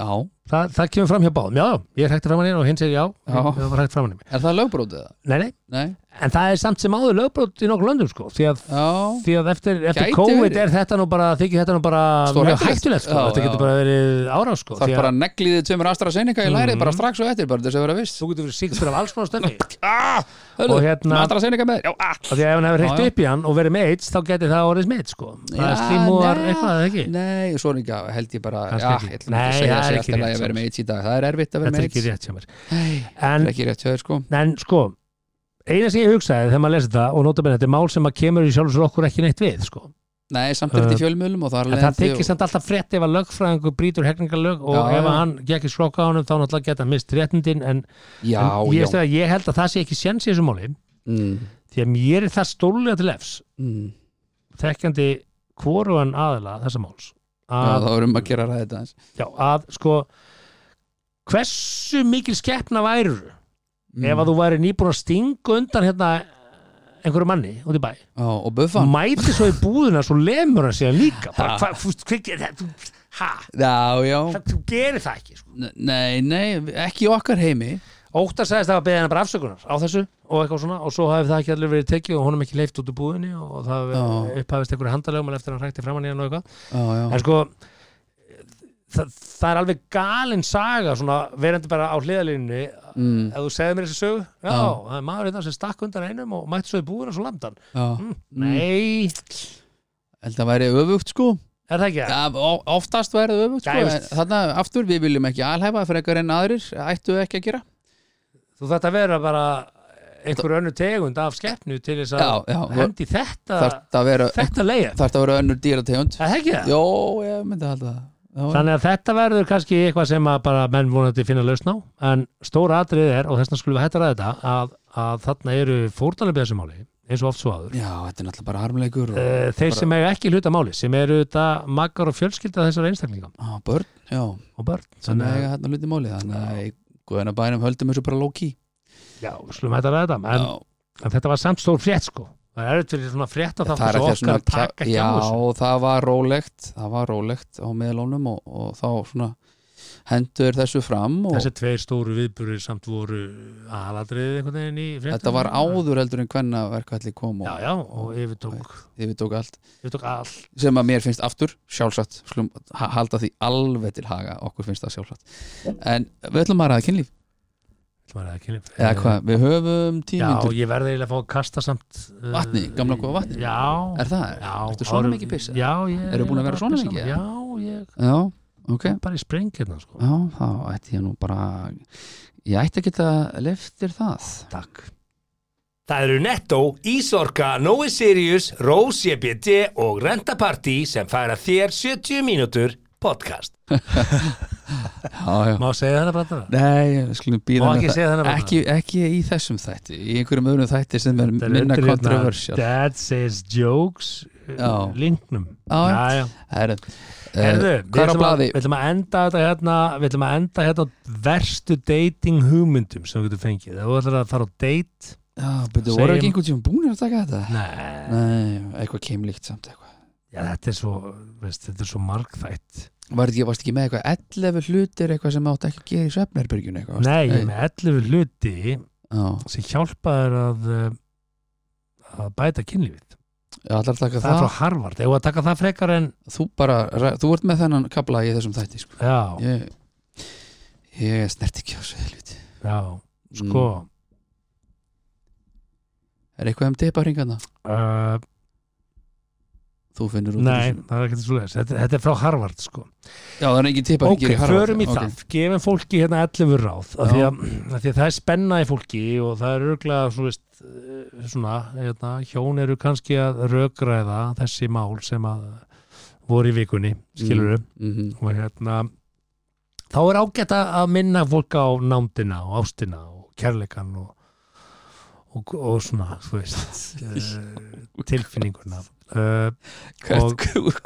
Já,
Þa, það kemur fram hjá báðum, já, já, ég hrækti framan í hann og hinn segir já,
Já.
það var hrækt framan í mig
er það lögbrótið það?
nei, nei,
Nei,
en það er samt sem áður lögbrot í nokkur löndum sko, því að
já
því að eftir, eftir
Gæti
COVID
verið.
er þetta nú bara þykir þetta nú bara
Stór
mjög
hættulegt.
hættulegt sko.
Já,
þetta
já.
getur bara verið árás sko.
þarf
því að-
bara að negli þið tveimur AstraZeneca í lærið
Mhm.
bara strax og eftir, bara til þess að vera viss
þú getur verið síktur af alls konar stöfi
ah, hörðu,
Og hérna-
með AstraZeneca með þér? já, ah.
og því að ef hann hefur
Já,
hreitt
já.
upp í hann og verið með AIDS þá getur það orðið smitt sko það
Já,
er slímúðar
nei.
eitthvað eða ekki
nei, svo líka held ég bara
Kannski
já,
ekki.
ég ætlum ekki
Nei,
að segja
það er
það
ekki rétt
alltaf að ég
samt.
verið með AIDS í dag það er erfitt að
þetta
vera með
er ekki
AIDS
rétt hjá mér
það
en,
er ekki rétt hjá þér sko
en sko eina sem ég hugsaði þegar maður lesi það og nota bene þetta er mál sem að kemur í sjálfsögur okkur ekki neitt við sko.
nei, samt er þetta í fjölmjölum og það
Uh, en
er
það tekir samt alltaf frétt ef að lögfræðingu brýtur hegningarlög og
Já,
ef að
já.
hann gekk í skróka á honum þá náttúrulega geta hann mist réttindin en,
já,
en ég,
já
segi að ég held að það sé ekki sjens í þessu máli
Mm,
því að mér er það stólulega til efs
mm.
þekkjandi hvorugan aðila þessa máls
Já,
að
þá erum að gera ræðið aðeins
Já, að sko hversu mikil skeppna væru ef að þú væri nýbúin að stinga undan hérna einhverju manni út í bæ
Já, og buffan
mæti svo í búðuna svo lemur hann síðan líka bara, hva, þú, veist, hver, gerir þetta? Þú- ha,
Já, já,
það, þú gerir það ekki sko.
N- nei, nei, ekki í okkar heimi
Óttar sagðist að hafa beðið hennar bara afsökunar á þessu og eitthvað svona og svo hafi það ekki allir verið tekið og honum ekki leift út úr búðinni og það hafi
Já.
upphafist einhverju handalegum eftir að hann hrækti framann í hann og eitthvað
Já, já,
en sko það, það er alveg galin saga svona verandi bara á hliðalínu
mm,
ef þú segði mér þessi sögu já,
Já.
það er maður hérna sem stakk undan einum og mætti svo í búðina og svo landan
já.
mm. nei,
held að væri öfugt sko
er það ekki
ja, o- oftast væri það öfugt sko
Já, ég
en
veist.
þarna aftur við viljum ekki alhæfa frekar en aðrir ættu ekki að gera
þú þetta vera bara einhver önnu tegund af skeppnu til þess
Já,
að
já,
hendi þetta
þarf að vera
þetta leið,
þarf að vera önnur
er
dýrategund
það ekki það?
Jó, ég myndi að halda það Já,
Þannig að þetta verður kannski eitthvað sem að bara menn vonandi finna lausn á en stóra atrið er, og þess vegna skulum við hætta að ræða þetta að, að þarna eru fórtanlega þessu máli, eins og oft svo áður
Já, þetta er náttúrulega bara harmleikur og
Eh, þeir sem eiga ekki hluta máli sem eru þetta makkar og fjölskylda þessar einstaklinga
á, börn, já,
og börn
sem
þannig
eiga hérna hluti máli þannig að í guðina bænum höldum þessu bara lóki
að já, slum hægt að ræða þetta en,
Já,
en þetta var samt stór frétt sko það er eitthvað svona frétt að
það er
það
ekki
fyrir okkar
svona
að taka ekki
Já,
á þessu
það var rólegt það var rólegt á meðlónum og, og þá svona hendur þessu fram og
þessi tveir stóru viðburðir samt voru aðalatriðið einhvern veginn í fréttum
þetta var áður heldur en hvenna verkvalli kom
já,
og
já, og yfirtók,
yfirtók allt
yfirtók allt
sem að mér finnst aftur sjálfsagt, slum, halda því alveg til haga, okkur finnst það sjálfsagt en við ætlum að ræða kynlíf
Það var ekki- Eh,
eða hvað, við höfum
Já,
tímindur
ég verði eiginlega að fá að kasta samt uh,
Vatni, gamla góða vatni?
Já
er það,
Já,
ertu svona
árum-
mikið pissa?
Já, ég
Eru búin að vera svona
pissa
mikið?
maður. Já, ég
já, ok
er bara í spreng hérna sko.
já, þá ætti ég nú bara ég ætti að geta leftir það
Takk
Það eru Netto, Ísorka, Nói Sirius, Rós EBD og Renta Party sem færa þér 70 mínútur podcast.
já, já
Má segja þetta bara það?
Nei, við skulum býða
Má ekki
það.
segja þennan bara?
ekki, ekki í þessum þætti í einhverjum öðrum þætti sem er
Þetta er
minna
undir hérna,
kontroversial
Dad says jokes uh,
Já.
Linknum
Já, já.
já, já.
Herðu,
Herðu,
eh,
við
hvað er á
ætlum að-
blaði?
við ætlum að enda þetta hérna Við ætlum að enda hérna á verstu dating hugmyndum sem þú getur fengið Ef Þú ætlar að fara á date
Já, betur, voru
segjum-
ekki einhvern tíma búinir að taka þetta?
Nei,
Nei, eitthvað keimlíkt samt eitthvað
já, þetta er svo, veist, þetta er svo margþætt
Var ekki, varst ekki með eitthvað 11 hlutir eitthvað sem átt ekki að gera í svefnherbergjunu eitthvað? varstu-
Nei, ég er með 11 hluti
Já,
sem hjálpa þér að, uh, að bæta kynlífið.
ég ætlar að taka
Það,
það,
er frá Harvard, ef að taka það frekar en
Þú bara, ræ- þú ert með þennan kabla í þessum þætti sko.
já,
Ég, ég snert ekki á þessu helviti
já, sko
Er eitthvað um deparingana?
uh,
Þú finnur út úr
nei,
þessu.
það er ekkert svo leiðis þetta, þetta er frá Harvard sko.
Já, það er engin
Ok,
deparingir í Harvard
förum í
Ok.
það, gefum fólki hérna 11 ráð, af því,
Já.
að, af því að það er spenna í fólki og það er örglega svo veist, eh, svona, hérna, hjón eru kannski að rökræða þessi mál sem að voru í vikunni, skilur
Mhm.
og hérna þá er ágætt að að minna fólk á nándina og ástina og kærleikan og, og, og svona þú veist uh, tilfinninguna uh,
Hvert,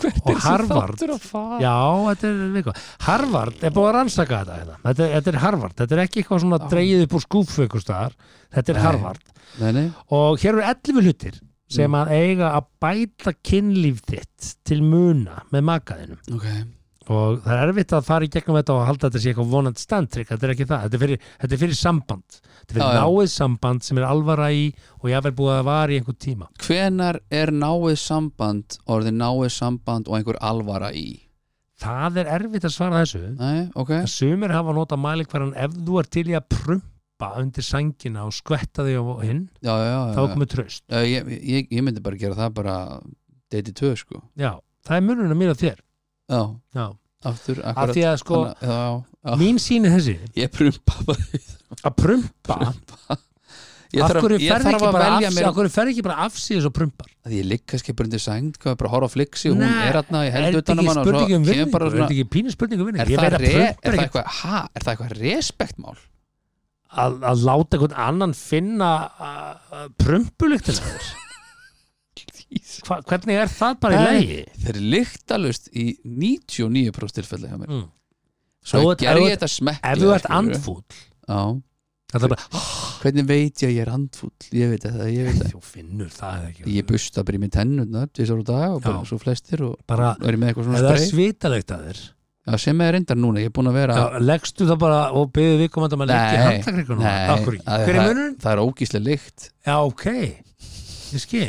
hvert
og
er þessi
Harvard.
þáttur að fara?
já, þetta er líka Harvard er búið að rannsaka þetta hérna. þetta, er- þetta er Harvard, þetta er ekki eitthvað svona
Já.
dreigið upp úr skúfu ykkur staðar þetta er
Nei.
Harvard
Nei, nei,
og hér eru 11 hlutir sem
Mm.
að eiga að bæta kynlíf þitt til muna með makaðinum
ok
og það er erfitt að fara í gegnum þetta og halda þetta sé eitthvað vonandi standtrykk þetta er ekki það, þetta er fyrir, þetta er fyrir samband þetta er fyrir
Já, já.
náið samband sem er alvara í og ég hafði búið að vara í einhvern tíma
Hvenar er náið samband orðið náið samband og einhver alvara í?
það er erfitt að svara þessu
Nei, ok
en sumir hafa nota mælikvaran ef þú er til í að prumpa undir sængina og skvetta þig á hinn
já, já, já,
þá
já.
er komið tröst,
Já, ég, ég, ég myndi bara gera það bara deiti tvö sko
já, það er munurinn að mér og þér
já,
já,
aftur
af
akkurat
því að sko
Þannig- já, já.
mín sín er þessi,
ég prumpa bara um
að prumpa
ég
af
þarf,
hverju
að- ég
ferð
þarf
ekki
að
bara
velja
af-
mér
af hverju ferð ekki bara afsýðis og prumpar
að ég ligg kannski bara undir sæng hvað, bara horfa á fliksi og hún
Nei,
er aðna ég
Er
held
þetta
utan um
ekki
hann og svo
spurning um
kemur
vinningu?
bara
Er þetta
svona
ekki pínu spurning um
er
vinningu? Ég
það,
veit að
re, er,
prump er
það
ekki
eitthvað, ha, er það eitthvað respektmál
að, að láta einhvern annan finna uh, uh, prumpulíktina þér. Hva, hvernig er það bara í
Nei.
lagi?
þeir er lyktalust í 99% tilfelli hjá mér
Mm. Ef þú
svo
ert-
ger
ef þú
ég
ert-
þetta smekkilega,
ef þú ert
skilurðu.
andfúll
Já.
það er bara,
hvernig veit ég að ég er andfúll ég veit það, ég veit það
þú finnur það ekki
ég busta bara í mér tennurnar tvisar á dag og bara
Já.
svo flestir og
bara,
er ég með eitthvað
ef
svona
það er
spreið
svitalegt að þér
Já, sem er reyndar núna, ég er búin að vera
Já, leggstu það bara og byggðu viðkomandi um að leggja
Nei,
handlagreikunum
nei,
Akkur ekki,
það-
hver er
það-
munurinn?
það er ógíslega lykt
Já, ok, ég skil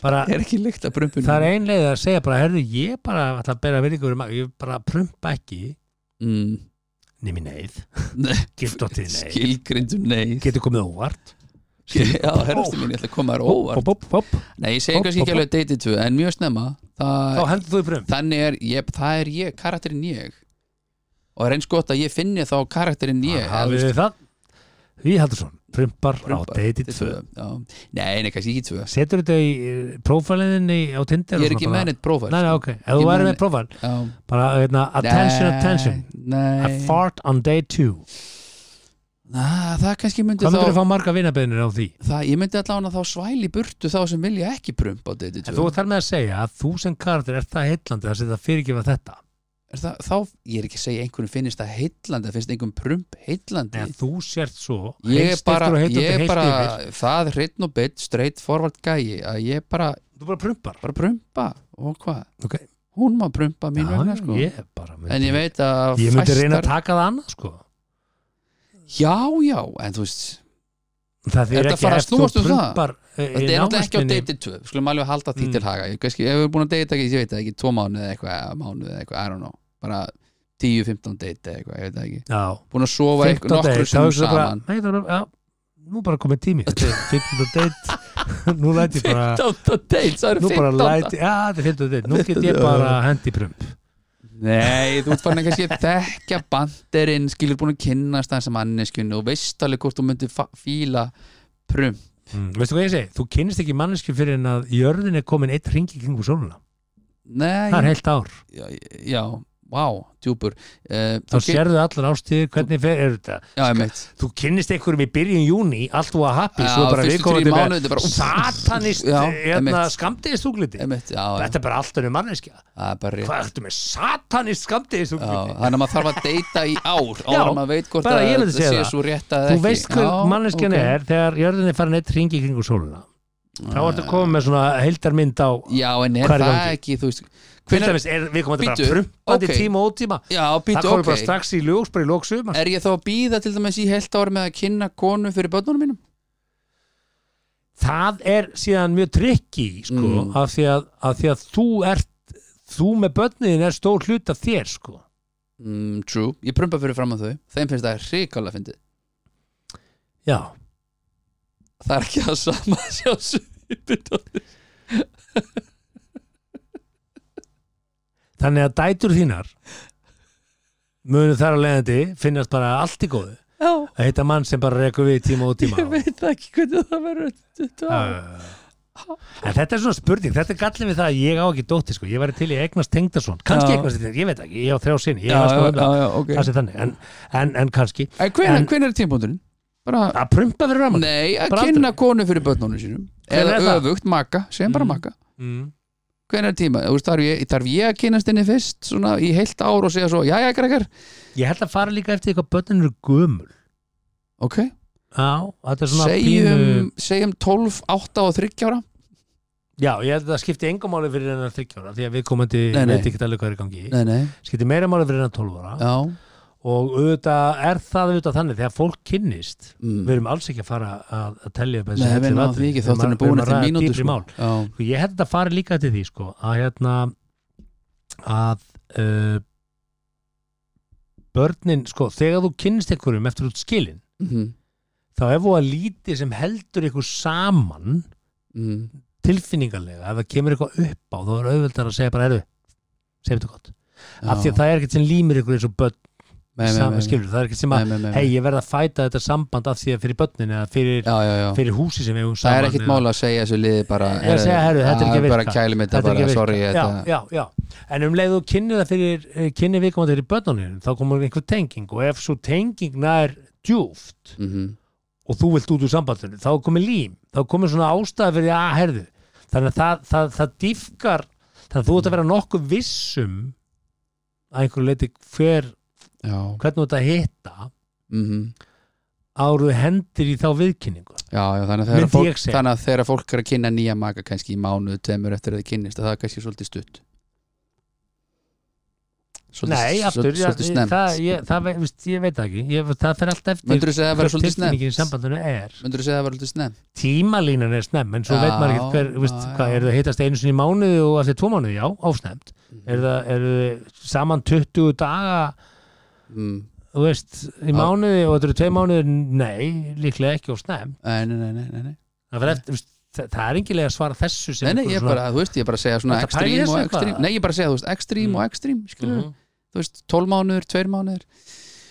bara,
er ekki lykt að brumbunum
það er ein leið að segja bara, herðu, ég bara ætla að bera virðingu fyrir maður, ég bara prumpa ekki
mm,
nými neyð,
Nei.
gift og til neyð
skilgrindum nei
getur komið óvart
já, herrastu mín, ég ætla að koma þér óvart
Hopp, hopp, hopp.
nei, ég segi
Hopp,
kannski
hopp,
ekki alveg deytið tvö, en mjög snemma
þá
það,
hendur þú í prump
þannig er, ég, það er ég karakterinn ég og er eins gott að ég finni þá karakterinn ég eða,
hafið
þú veist,
þið það Við Haldursson, prumpar á
Prumpar.
deiti
þetta er
2
tvö, já. nei, nei, kannski ekki tvö
Setur þetta í eh, prófælinni á Tinder
ég
og svona
er ekki
bara?
með neitt prófar
Nei, nei, ok, ef þú
Ég
væri
man-
með prófæl bara, hérna, attention, attention I
nei,
fart on day 2
Na, það kannski myndi
Hvað
þá
myndir þú fá marga vinabeðinir á því?
það, ég myndi allavega þá svæli í burtu þá sem vilja ekki prump á date
En þú þarf með að segja að þú sem karakter er það heillandi þar sem það fyrirgefa þetta
það, þá, ég er ekki að segja einhvern finnist það heillandi, það finnst einhvern prump heillandi
en þú sért svo
ég er
heilsteyptur
bara,
og heillandi
ég er
heilt
bara
yfir
það hreitn og bytt, straight forward gæi að ég bara,
Þú bara prumpar
bara prumpa og hvað,
Ok.
hún má prumpa mín vegna
Já,
sko
ég bara myndi,
en ég veit að
Ég myndi reyna að taka það annað sko
já, já, en þú veist
Það
Þetta
þýr ekki
fara að
ef þú eh,
snúast um það.
prumpar
þetta er náttúrulega ekki á date 2, skulum alveg halda því
Mm.
til haga, ég kannski, ef við erum búin að date ekki, ég veit það ekki, tvo mánuð eða eitthvað, mánuð eða eitthvað, I don't know, bara 10-15 date eða eitthvað, ég veit það ekki
Já,
búin að sofa
15
eitthvað
date þá
nokkur sem
hugsaðu bara,
saman
Nei, það er bara, já, nú er bara komið tími Þetta er 15 date Nú læt ég bara
15 date, það eru
Nú bara
15
læt, já þetta er 15 date Nú get ég bara hendi í prump
Nei, þú ert farin að kannski þekkja banderinn, skilur búin að kynnast þessa manneskjunni og veist alveg hvort þú myndir fa- fíla prum
Mm, veistu hvað ég segi? Þú kynnist ekki manneski fyrir en að jörðin er komin eitt ringi kringum sóluna.
Nei,
Það er heilt ár.
já, já, vá, djúpur uh,
Þá sérðu allar ástíðir, hvernig fer er þetta?
Já, ég meitt
Þú kynnist einhverjum í byrjun júni, allt þú að happy,
Já,
svo bara
fyrstu
viðkomandi
þrír
með
mánuði, bara, úff.
satanist,
Já,
hérna,
einmitt.
skamdegisþúgliti.
Einmitt, já, já,
Þetta er bara allt önnum manneskja.
það er bara rétt
Hvað ertu með satanist
Já,
skamdegisþúgliti?
þannig að maður þarf að deyta í ár áður en maður veit hvort
bara
að
ég myndi
það
segja
sé
það.
svo rétt að
Þú veist hver
Já,
manneskjan
ok.
er þegar jörðin er farin eitt ringi kringum sóluna. Þá ertu komin með svona heildarmynd á...
Já, en er
Hvað er í
það
gangi?
ekki, þú veist
Til
hvenær-
dæmis er viðkomandi bara
Bíddu,
prumpandi
ok.
tíma og ótíma.
Já,
Það
býtu,
komið bara
ok Eh.
strax í ljós, bara í lóksum.
Er ég þá að býða til dæmis í heilt ári með að kynna konu fyrir börnunum mínum?
það er síðan mjög trikki sko,
Mm.
af, því að, af því að þú ert þú með börniðin er stór hlut af þér sko.
Mm, true, ég prumpa fyrir fram að þau Þeim finnst það hrikalega fyndið
já,
Það er ekki það sama að sjá svipið
þannig að dætur þínar munu þar að leiðandi finnast bara allt í góðu
Já,
að heita mann sem bara rekur við tíma og tíma
ég veit ekki hvernig það verður þetta
Já, já, já. en þetta er svona spurning þetta er gallin við það að ég á ekki dótti sko. ég væri til í eignast tengdason kannski
Já.
eignast tengdason, ég veit ekki, ég á þrjá sinni ég sko
Já,
eignast
já,
honum,
já, já, ok
það sé þannig, en, en, en kannski
En hvenær
En-
hvenær er tímpóndurinn? Bara,
að prumpa fyrir ramann
nei, að
bara
kynna konu fyrir börnunum sínum
Hvenær
Eða
er það?
öfugt, maka, segjum bara
Mm.
maka
mm.
Hvenær er tíma? Þú veist, þarf ég, þarf ég að kynast henni fyrst svona í heilt ár og segja svo Jæja, krakkar,
Ég held að fara líka eftir því hvað börnin eru gömul
ok
Já, þetta er svona pínu
Segjum, segjum 12, 8 og 30 ára
Já, ég held að það skipti engum máli fyrir hennar 30 ára því að við komandi
Nei, nei.
veit ekki alveg hvað er í gangi
Nei, nei,
skipti meira máli fyrir hennar 12 ára
já
og auðvitað er það auðvitað þannig þegar fólk kynnist
mm.
við erum alls ekki að fara að, að telja upp þessi
Nei,
hellu
við náðum
atriði.
því ekki,
Við erum
þátturinn
að-
er
við
búin
erum
eftir
að ræða
mínútu
dýpri
sko.
mál.
Já,
Sko, Ég held að þetta fari líka til því sko, að hérna að uh, börnin, sko, þegar þú kynnist einhverjum eftir út skilin
mhm,
þá ef þú að lítið sem heldur ykkur saman
mhm,
tilfinningarlega, ef það kemur eitthvað upp á þá er auðvöldar að segja bara erðu segja þetta gott, af því
já.
að það er ekkert sem límir ykkur eins og börn
Nei, nei, nei,
saman,
nei.
skilur, það er ekkert sem
Nei,
um að
nei, nei, nei.
hei, ég verð að fæta þetta samband af því að fyrir börnin eða fyrir,
já, já, já.
fyrir húsi sem við eigum
það
saman
er ekkit
eða-
mál að segja þessu liði bara eh,
Ég er að segja, herru, þetta er ekki að
bara
virka.
kælum þetta
er
bara,
ekki að
sorry
virka.
þetta,
já, já, já, en um leið þú kynni það fyrir kynni viðkomandi fyrir börnunum þá komur einhver tenging og ef svo tenging nær djúft
Mhm.
og þú vilt út úr sambandinu þá er komið lím, þá er komið svona ástæða fyrir að herðu, þannig að það, það, það um, dýfkar, þannig að þú ert að vera nokkuð vissum að einhverju leiti hver
já,
hvernig þú ert að hitta
mhm
áruðu hendir í þá viðkynningu
Já, já, þannig, að
Myndi
þegar fólk,
ég segja.
þannig að þegar fólk er að kynna nýja maka kannski í mánuðu, tveimur eftir að þið kynnist að það er kannski svolítið stutt svolítið,
Nei, aftur,
svolítið, svolítið
ég,
snemmt
það, ég, það, ve- veist, ég veit það ekki ég, það fer allt eftir
Myndirðu segja að það
hver
væri svolítið
tilfinningin í
snemmt?
sambandinu er
Möndur þú segja að það var svolítið snemmt?
tímalínan er snemm en svo
Já,
veit maður ekkert hver, veist,
já,
hvað,
já.
eru það hittast einu sinni í mánuði og eftir tvo mánuði, já, ásnemt
Mhm.
eru það, eru þið saman 20 daga
Mm,
þú veist, í
Já.
mánuði og þetta eru tvei mánuði, nei, líklega ekki ásnemt,
nei, nei, nei, nei, nei, nei.
það, fer eftir, veist, það, það er engin leið að svara þessu sem
nei, nei
einhver
ég, bara, þú veist, ég bara segja svona
Þetta pælir
ekstrím
þessu
og
eitthvað?
ekstrím Nei, ég bara segja, þú veist, ekstrím
Mm.
og ekstrím skilur,
Mhm.
þú veist, 12 mánuður, 2 mánuður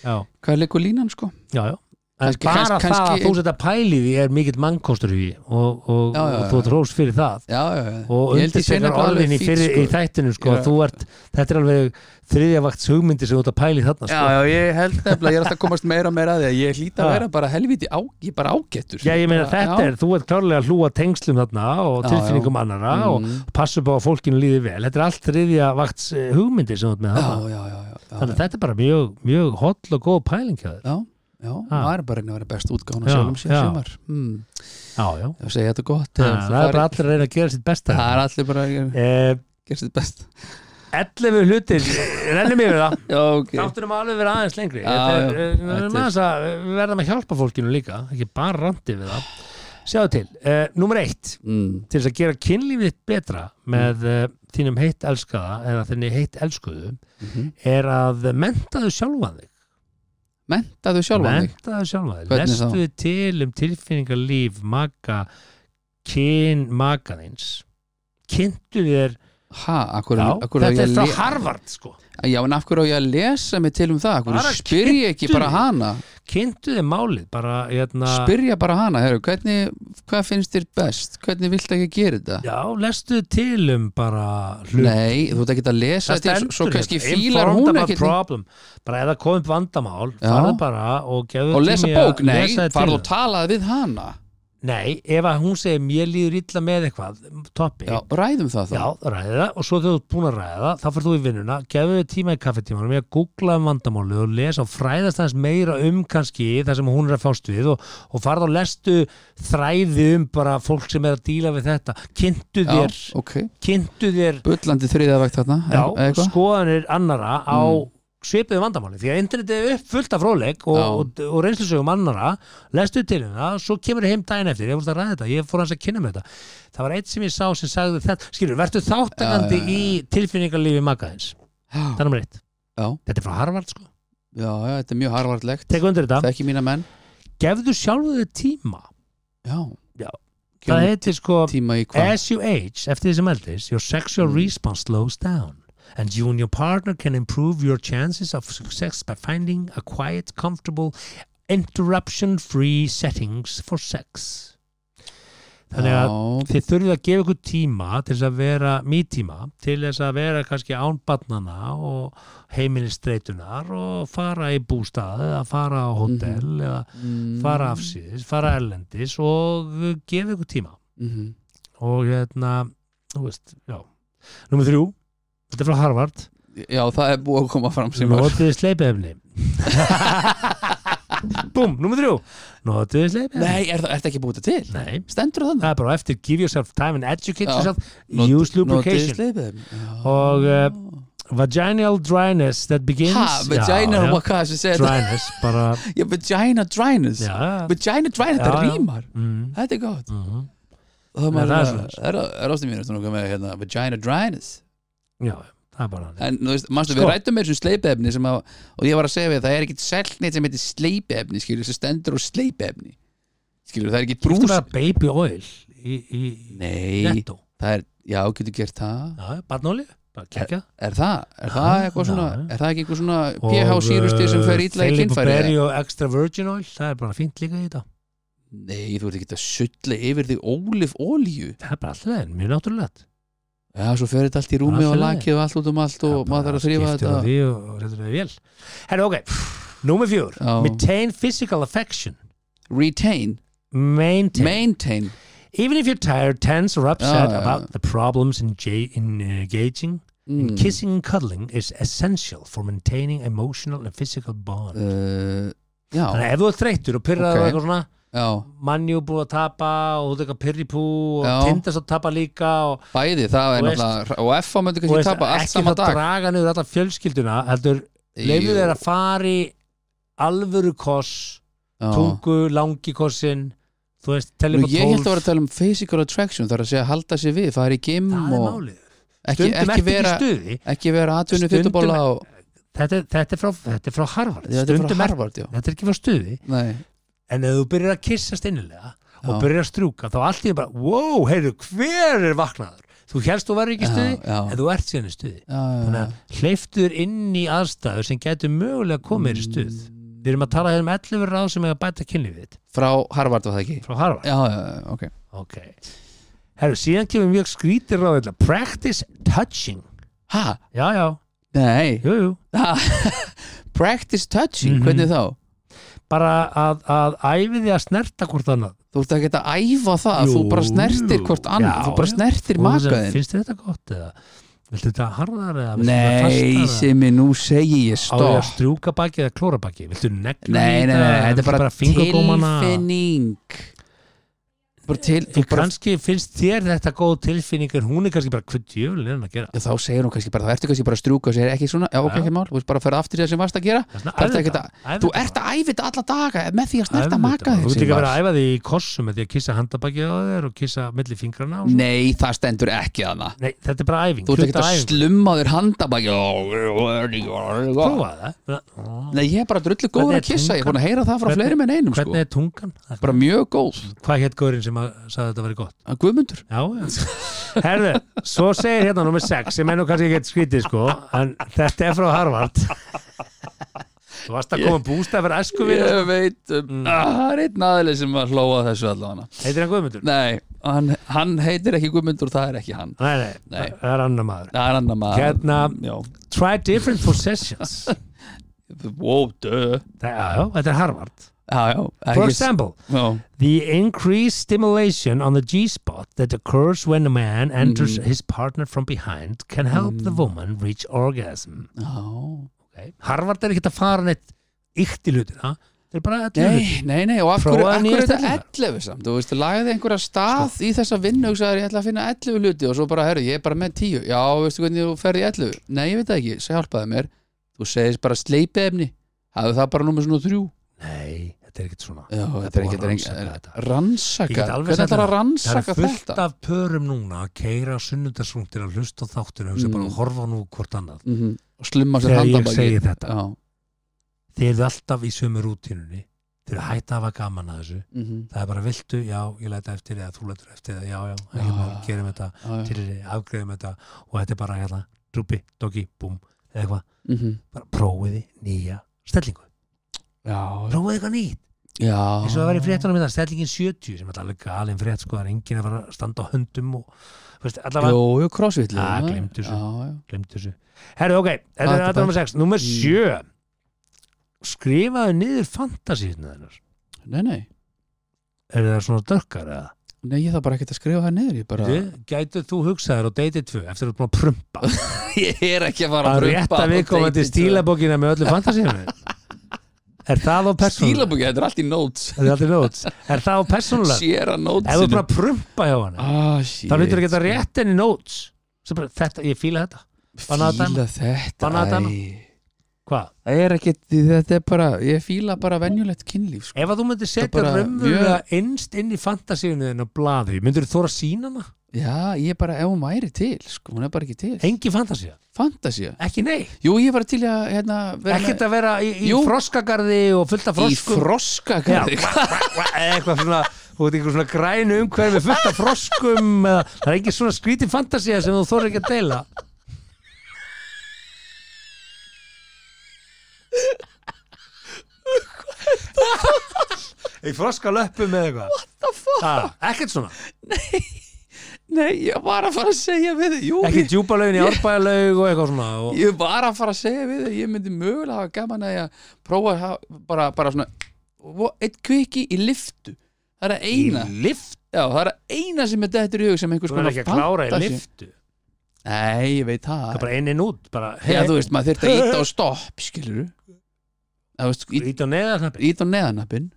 já,
Hvað er leikur línan, sko?
já, já En
Kannski-
bara það að
kannski- kannski-
þú setja pælið í er mikill mannkostur í og, og,
Já, já,
og
já.
þú ert rós fyrir það
Já, já, já
og
Ég held ég sé
undirtekar
nefnilega alveg
orðin í,
fínt,
fyrir,
sko.
í þættinu sko,
Ég
að
er-
þú ert, þetta er alveg þriðjavakt hugmyndi sem þú ert að pæli þarna
Já,
sko.
já, ég held nefnilega, ég er alltaf að komast meira og meira að því að ég hlýta að
Já.
vera bara helviti á, ég er bara ágættur sko.
já, ég meina þetta
Já.
er, þú ert klárlega að hlúa tengslum þarna og
Já,
tilfinningum annara og
Mm.
passa upp á að fólkinu líði vel þetta er allt þriðjavakt hugmyndi sem þú ert með þarna
já, já, já, já, já,
þannig að þetta er bara mjög, mjög holl og góð pæling hjá þér
já, já,
Ha.
maður er bara að reyna að vera best
Ah.
útgáðan
Já,
að sjálfum sér
já.
sumar mm.
já, já,
ef segja þetta gott
það, er
eða þú farir-
bara allir að reyna að gera sitt besta
það er allir bara að gera-
Eh,
gera sitt best
11 hlutir, rennum yfir það
já, ok,
Þátturum að alveg vera aðeins lengri
Já,
Þetta er,
já.
eh, við verðum
Þetta er-
aðeins að- Við verðum að hjálpa fólkinu líka ekki bara randi við það Sjáðu til, uh, númer eitt
mm.
til þess að gera kynlífið betra með uh, þínum heitt elskaða eða þinni heitt elskuðu
mm -hmm.
er að menntaðu sjálfan þig
mentaðu sjálfan þig
menntaðu sjálfan þig,
Hvernig þá?
lestu þið til um tilfinningarlíf maka kyn makaðins kynntu þér
ha, akkur,
Já,
akkur
þetta er frá
le...
Harvard sko
já, en af hverju á ég að lesa mig til um það
Bara
akkur spyr ég ekki
kynntu
bara
þig.
hana
kynntu þér málið bara hérna,
spyrja bara hana, herru, hvernig hvað finnst þér best, hvernig viltu ekki að gera þetta
Já, lestu til um bara hlut
nei, þú ert ekki að lesa þetta svo- svo kannski
hérna,
fílar
informed
hún
about
ekki
problem. Bara ef það kom upp vandamál
Já.
farðu bara og gefðu
og
tími
lesa
að
bók, nei,
lesa þér til
farðu og
um.
talaði við hana
Nei, ef að hún segir mér líður illa með eitthvað toppi,
já, ræðum það þá
já ræði það og svo þegar þú ert búin að ræða það, þá fyrir þú í vinnuna gefðu þér tíma í kaffetímanum, ég að googla um vandamáli og lesa og fræðast hans meira um kannski það sem hún er að fást við og, og farðu og lestu þræði um bara fólk sem er að díla við þetta kynntu
Já,
þér,
ok,
kynntu þér
bullandi þriðavægt þarna
Já, Sko-
eða eitthvað? Mm.
skoðanir annara á svipuðu vandamáli því að internetið er upp fullt af fróleg og,
Já.
og, og reynslusögum annara lestu til hérna, svo kemur þið heim daginn eftir ég fórst að ræða þetta, ég fór hans að kynna með þetta það var eitt sem ég sá sem sagði þetta skilur, verður þáttakandi
Já, já, já.
í tilfinningarlífi makaðins,
já,
það er nummer eitt
já,
þetta er frá Harvard sko,
já, já, þetta er mjög harvartlegt
tek undir
það
þetta
er ekki mína menn
gefðu sjálfu þið tíma
já,
Já.
Gefum
það heitir sko
tíma í hvað
As you age, eftir því sem eldist, your sexual
Mm.
response slows down and you and your partner can improve your chances of success by finding a quiet, comfortable, interruption-free settings for sex. Þannig að
já,
þið þurfið að gefa ykkur tíma til þess að vera mítíma, til þess að vera kannski ánbarnana og heimilistreitunar og fara í bústað eða fara á hótel eða
Mhm. mm,
fara afsýðis, fara erlendis og uh, gefa ykkur tíma
mhm.
og hérna þú veist, já Númer þrjú, þetta er frá Harvard
já, það er búið að koma fram sem var
Notiði sleipiðefni Búm, númer þrjú Notiði sleipiðefni
nei, er það ertu ekki búið þetta til?
Nei,
stendur það
það er bara á eftir give yourself time and educate
Já.
yourself
Not-
use
þannig?
lubrication Og, eh, vaginal dryness that begins
ha, vagina,
Já, já.
what hvað sem segir þetta
dryness bara,
Já, vagina dryness
já
vagina dryness, þetta
Já, já.
rýmar
mm,
þetta er gott
mm,
og það
Nei,
maður
það er
er,
svoleiðis.
er, er ástum mínust með hérna, vagina dryness
Já, það er bara hann
en þú veist, manstu,
Sko.
við rættum með þessum sleipefni sem að, og ég var að segja við að það er ekkit selnið sem heitir sleipefni skilur, sem stendur á sleipefni skilur, það er ekki
Brús
brús
baby oil í, í
nei,
netto
það er, já, getur gert það
Já, barnóli, bara kekja
er það, er það
Já,
eitthvað svona
já.
er það ekki eitthvað svona
Og,
pH sírusti sem fer illa
uh,
í
Felipe
kynfæri
Berry og extra virgin oil, það er bara fínt líka í þetta
nei, þú ert ekki að sulla yfir því ólif olju
það er bara alltaf þeim, mjög náttúrulegt
já, svo fer þetta allt í rúmi
Allt
og
í lagi.
lakið og allt út um allt
Það
og
er bara
maður þarf að þrýfa
skiptir á
þetta
því og, og setur það í vél herru ok, númer fjör
Já.
maintain physical affection
retain,
maintain
maintain
even if you're tired, tense or upset
Já, Hmm. já, já.
about the problems uh, in, in engaging and kissing and cuddling is essential for maintaining emotional and physical bond
uh, já,
þannig að ef þú ert þreyttur og pyrraður
Ok.
og eitthvað svona
já,
mannjú búið að tapa og þú ert eitthvað pyrri pú og
Já.
tindast að tapa líka og,
bæði, það
Þú
er
veist-
náttúrulega og FA myndi
og
kannski
veist,
tapa allt
ekki
sama
það
dag
draga niður alla fjölskylduna heldur
Jú,
leifðu þeir að fari alvöru koss
já.
tungu, langi kossin þú veist,
Nú,
teljum að
ég held að vera að
tólf
tala um physical attraction þar að segja að halda sér við, fara í gym
það er
og
málið
ekki,
stundum
ekki
ertu ekki
vera
í stuði
ekki vera atvinni
Stundum-
fytubóla og
þetta, þetta, er frá, þetta er frá Harvard
þetta er frá
stundum er,
Harvard, já
þetta er ekki frá stuði
Nei,
en ef þú byrjar að kissast innilega og
Já.
byrjar að strjúka þá allt í einu bara, wow, heyrðu, hver er vaknaður þú helst þú verður ekki í
Já,
stuði
já.
en þú ert síðan í stuði
já, já,
þannig að hleyftur inn í aðstæður sem getur mögulega komið mm. í stuð við erum að tala hér um 11 ráð sem hefur bæta kynlífið þitt
frá Harvard var það ekki
frá Harvard
já, já, já, ok
Ok. Herru, síðan kemur mjög skrítir ráð hérna. Practice touching.
ha,
Já, já,
nei
jú, jú.
Ha, practice touching,
Mhm.
hvernig þá
Bara að, að æfi því að snerta hvort annað.
þú ert ekki að æfa það
Jú,
þú bara snertir hvort annað,
já,
þú bara
já.
snertir
Og þú
maka
segir,
þinn
Finnst þér þetta gott eða? Viltu þetta harðar eða? viltu þetta
nei,
fastara?
sem ég nú segi
Á
ég
því að
stopp
strjúka baki eða klóra baki? Viltu negla
nei, nei,
í
nei, þetta
Viltu
er bara
fingurgómana?
tilfinning bara til, þú
Þú
bara
kannski finnst þér þetta góð tilfinning en hún er kannski bara hvað djöfulega hann að gera.
Já, þá segir hún kannski bara, þá ertu kannski bara að strjúka og segir ekki svona, já ok,
Já.
ekki mál, þú veist bara að ferða aftur í það sem varst að gera
Þess vegna æfðu
Þarftu ekkert
þetta, æfðu
þú
þetta
ert að æfi þetta alla daga með því að
Æfðu
snerta maka
þetta.
þig
Þú ert
Sigmar.
ekki að vera að æfa því í kossum með því að kissa handabakið á þér og kissa milli fingrana og svona.
Nei, það stendur ekki þarna
Nei, þetta er bara æfing
Þú ert ekki að
hluti af æfingu.
slumma á þér handabæki Nei,
Prófaðu það
ég er bara drullu
Hvernig
góður
er
að kissa Ég er búin að heyra það frá
Hvernig-
fleiri menn einum sko.
Hvernig er tungan?
Bara mjög góð
Hvað hétt góðurinn sem að sagði þetta verið gott?
Að Guðmundur
Já, já Herðu, svo segir hérna nummer 6 sem er nú kannski ekki skrítið sko en þetta er frá Harvard Þú varst að koma bústað fyrir æskuvinn
Ég veit um, ah, Það er einn aðli sem að hlóa þessu allavega
Heitir hann Guðmundur?
Nei, hann, hann heitir ekki Guðmundur Það er ekki hann
Nei, nei,
Nei.
það er annar maður
Það er annar maður
Hérna-
Já.
Try different possessions
Wow, dö
Það, já, já, þetta er Harvard
Já, já
For
ekki-
example,
Já,
the increased stimulation on the G spot that occurs when a man enters
Mm-hmm.
his partner from behind can help
Mm.
the woman reach orgasm.
já
Okay. Harvard er ekkert að fara neitt ykt í hlutina, þetta er bara allir hlutina.
Nei, nei, nei, og af hverju,
Prófaðu Sko.
af
nýjar
hverju er þetta
stellingar.
11 samt, þú veist, lagði einhverja stað í þessa vinnu og sagði, ég ætla að finna 11 hluti og svo bara, herru, ég er bara með 10, já, veistu hvernig þú ferði í 11, nei, ég veit það ekki, svo hjálpaði mér þú segist bara sleipi efni hafðu það bara númer svona 3
Nei, þetta er ekkert svona.
já,
Það
þetta er
búið
ekki,
að
þetta er
rannsaka þetta. Ég
ekki, rannsaka
get alveg
hvernig
sagt
ætlar
Það
að
er
rannsaka
fullt
þetta
af pörum núna að keira sunnundarsrúntir að hlusta á þáttinu og
Mm.
hugsa bara að horfa nú hvort annað.
Mhm, og slumma sér
Þegar ég
handabaki
segi þetta.
já,
Þeir eru alltaf í sömu rútínunni, þeir eru hætt að hafa gaman að þessu.
mhm,
Það er bara viltu, já, ég læta eftir eða þú lætur eftir eða já, já, ekki
Já.
bara gerum þetta
já, já,
til afgreðum þetta og þetta er bara hérna, drúpi, doggi, búm eða eitthvað,
mhm,
bara prófiði nýja stellingu,
já,
prófiði eitthvað nýtt
já
eins og það var í fréttunum þetta, stellingin 70 sem er alveg galin frétt, sko, það er enginn að fara að standa á höndum og, veist, allavega
jú, jú, crossfitlu
Ah, gleymdu þessu.
já, já,
glemt þessu herru, ok, þetta
Ah,
er
þetta
aðdæma 6 nummer
Mm.
7 skrifaðu niður fantasíðna þennar
nei, nei
eru það svona dökkar eða?
Nei, ég þarf bara ekkert að skrifa það niður, ég bara
Þú, Gætu þú hugsaður á deiti 2 eftir að þú ert búin að prumpa
Ég er ekki að fara
að
að
rétta viðkomandi stílabókina með öllu fantasíunum er það á persónulega
Stílabóki, þetta er allt í notes
er það, aldrei notes? er það á persónulega
Sér að notes
ef þú er bara að prumpa hjá hann
Ah,
þá hlutur ekki að rétt henni notes Svo bara, þetta, ég fíla þetta Banna að dæma.
Fíla þetta
Banna að dæma.
æ.
hvað?
Það er ekki, þetta er bara Ég fíla bara venjulegt kynlíf sko.
ef að þú myndir setja
bara
raunverulega innst inn í fantasíunum þinn á blaði myndir þú þóra sína hana?
Já, ég bara, ef hún væri til sko, Hún er bara ekki til,
engi fantasía,
fantasía
ekki nei
Jú, ég var til að hérna, vera
ekkert að vera í, í
Jú.
froskagarði og fullta
með- í
froskum
froska
Já,
garði.
vá, vá, vá, eða eitthvað svona þú veit einhver svona grænu umhverfi fullt af froskum eða, það er ekki svona skrítið fantasía sem þú þórir ekki að deila í froska löppum eða eitthvað what the fuck ekkert svona,
Nei, ég var að fara að segja við þig Jú,
ekki
ég,
djúbalaugin í árbæðalaug og eitthvað svona og,
ég var að fara að segja við þig Ég myndi mögulega hafa gaman að ég að prófa að hafa- bara, bara svona vo- Eitt kviki í liftu Það er að
í
eina
lift,
Já, það er að eina sem er dettur í hug sem einhvers
þú er
konar
ekki að klára í
fantasy.
liftu
Nei, Nei, ég veit það
það er bara inn inn út bara,
Já, þú veist, maður þurft að íta á stopp, skilur þú veist, ít-
ít og neða og,
ít á neðanappin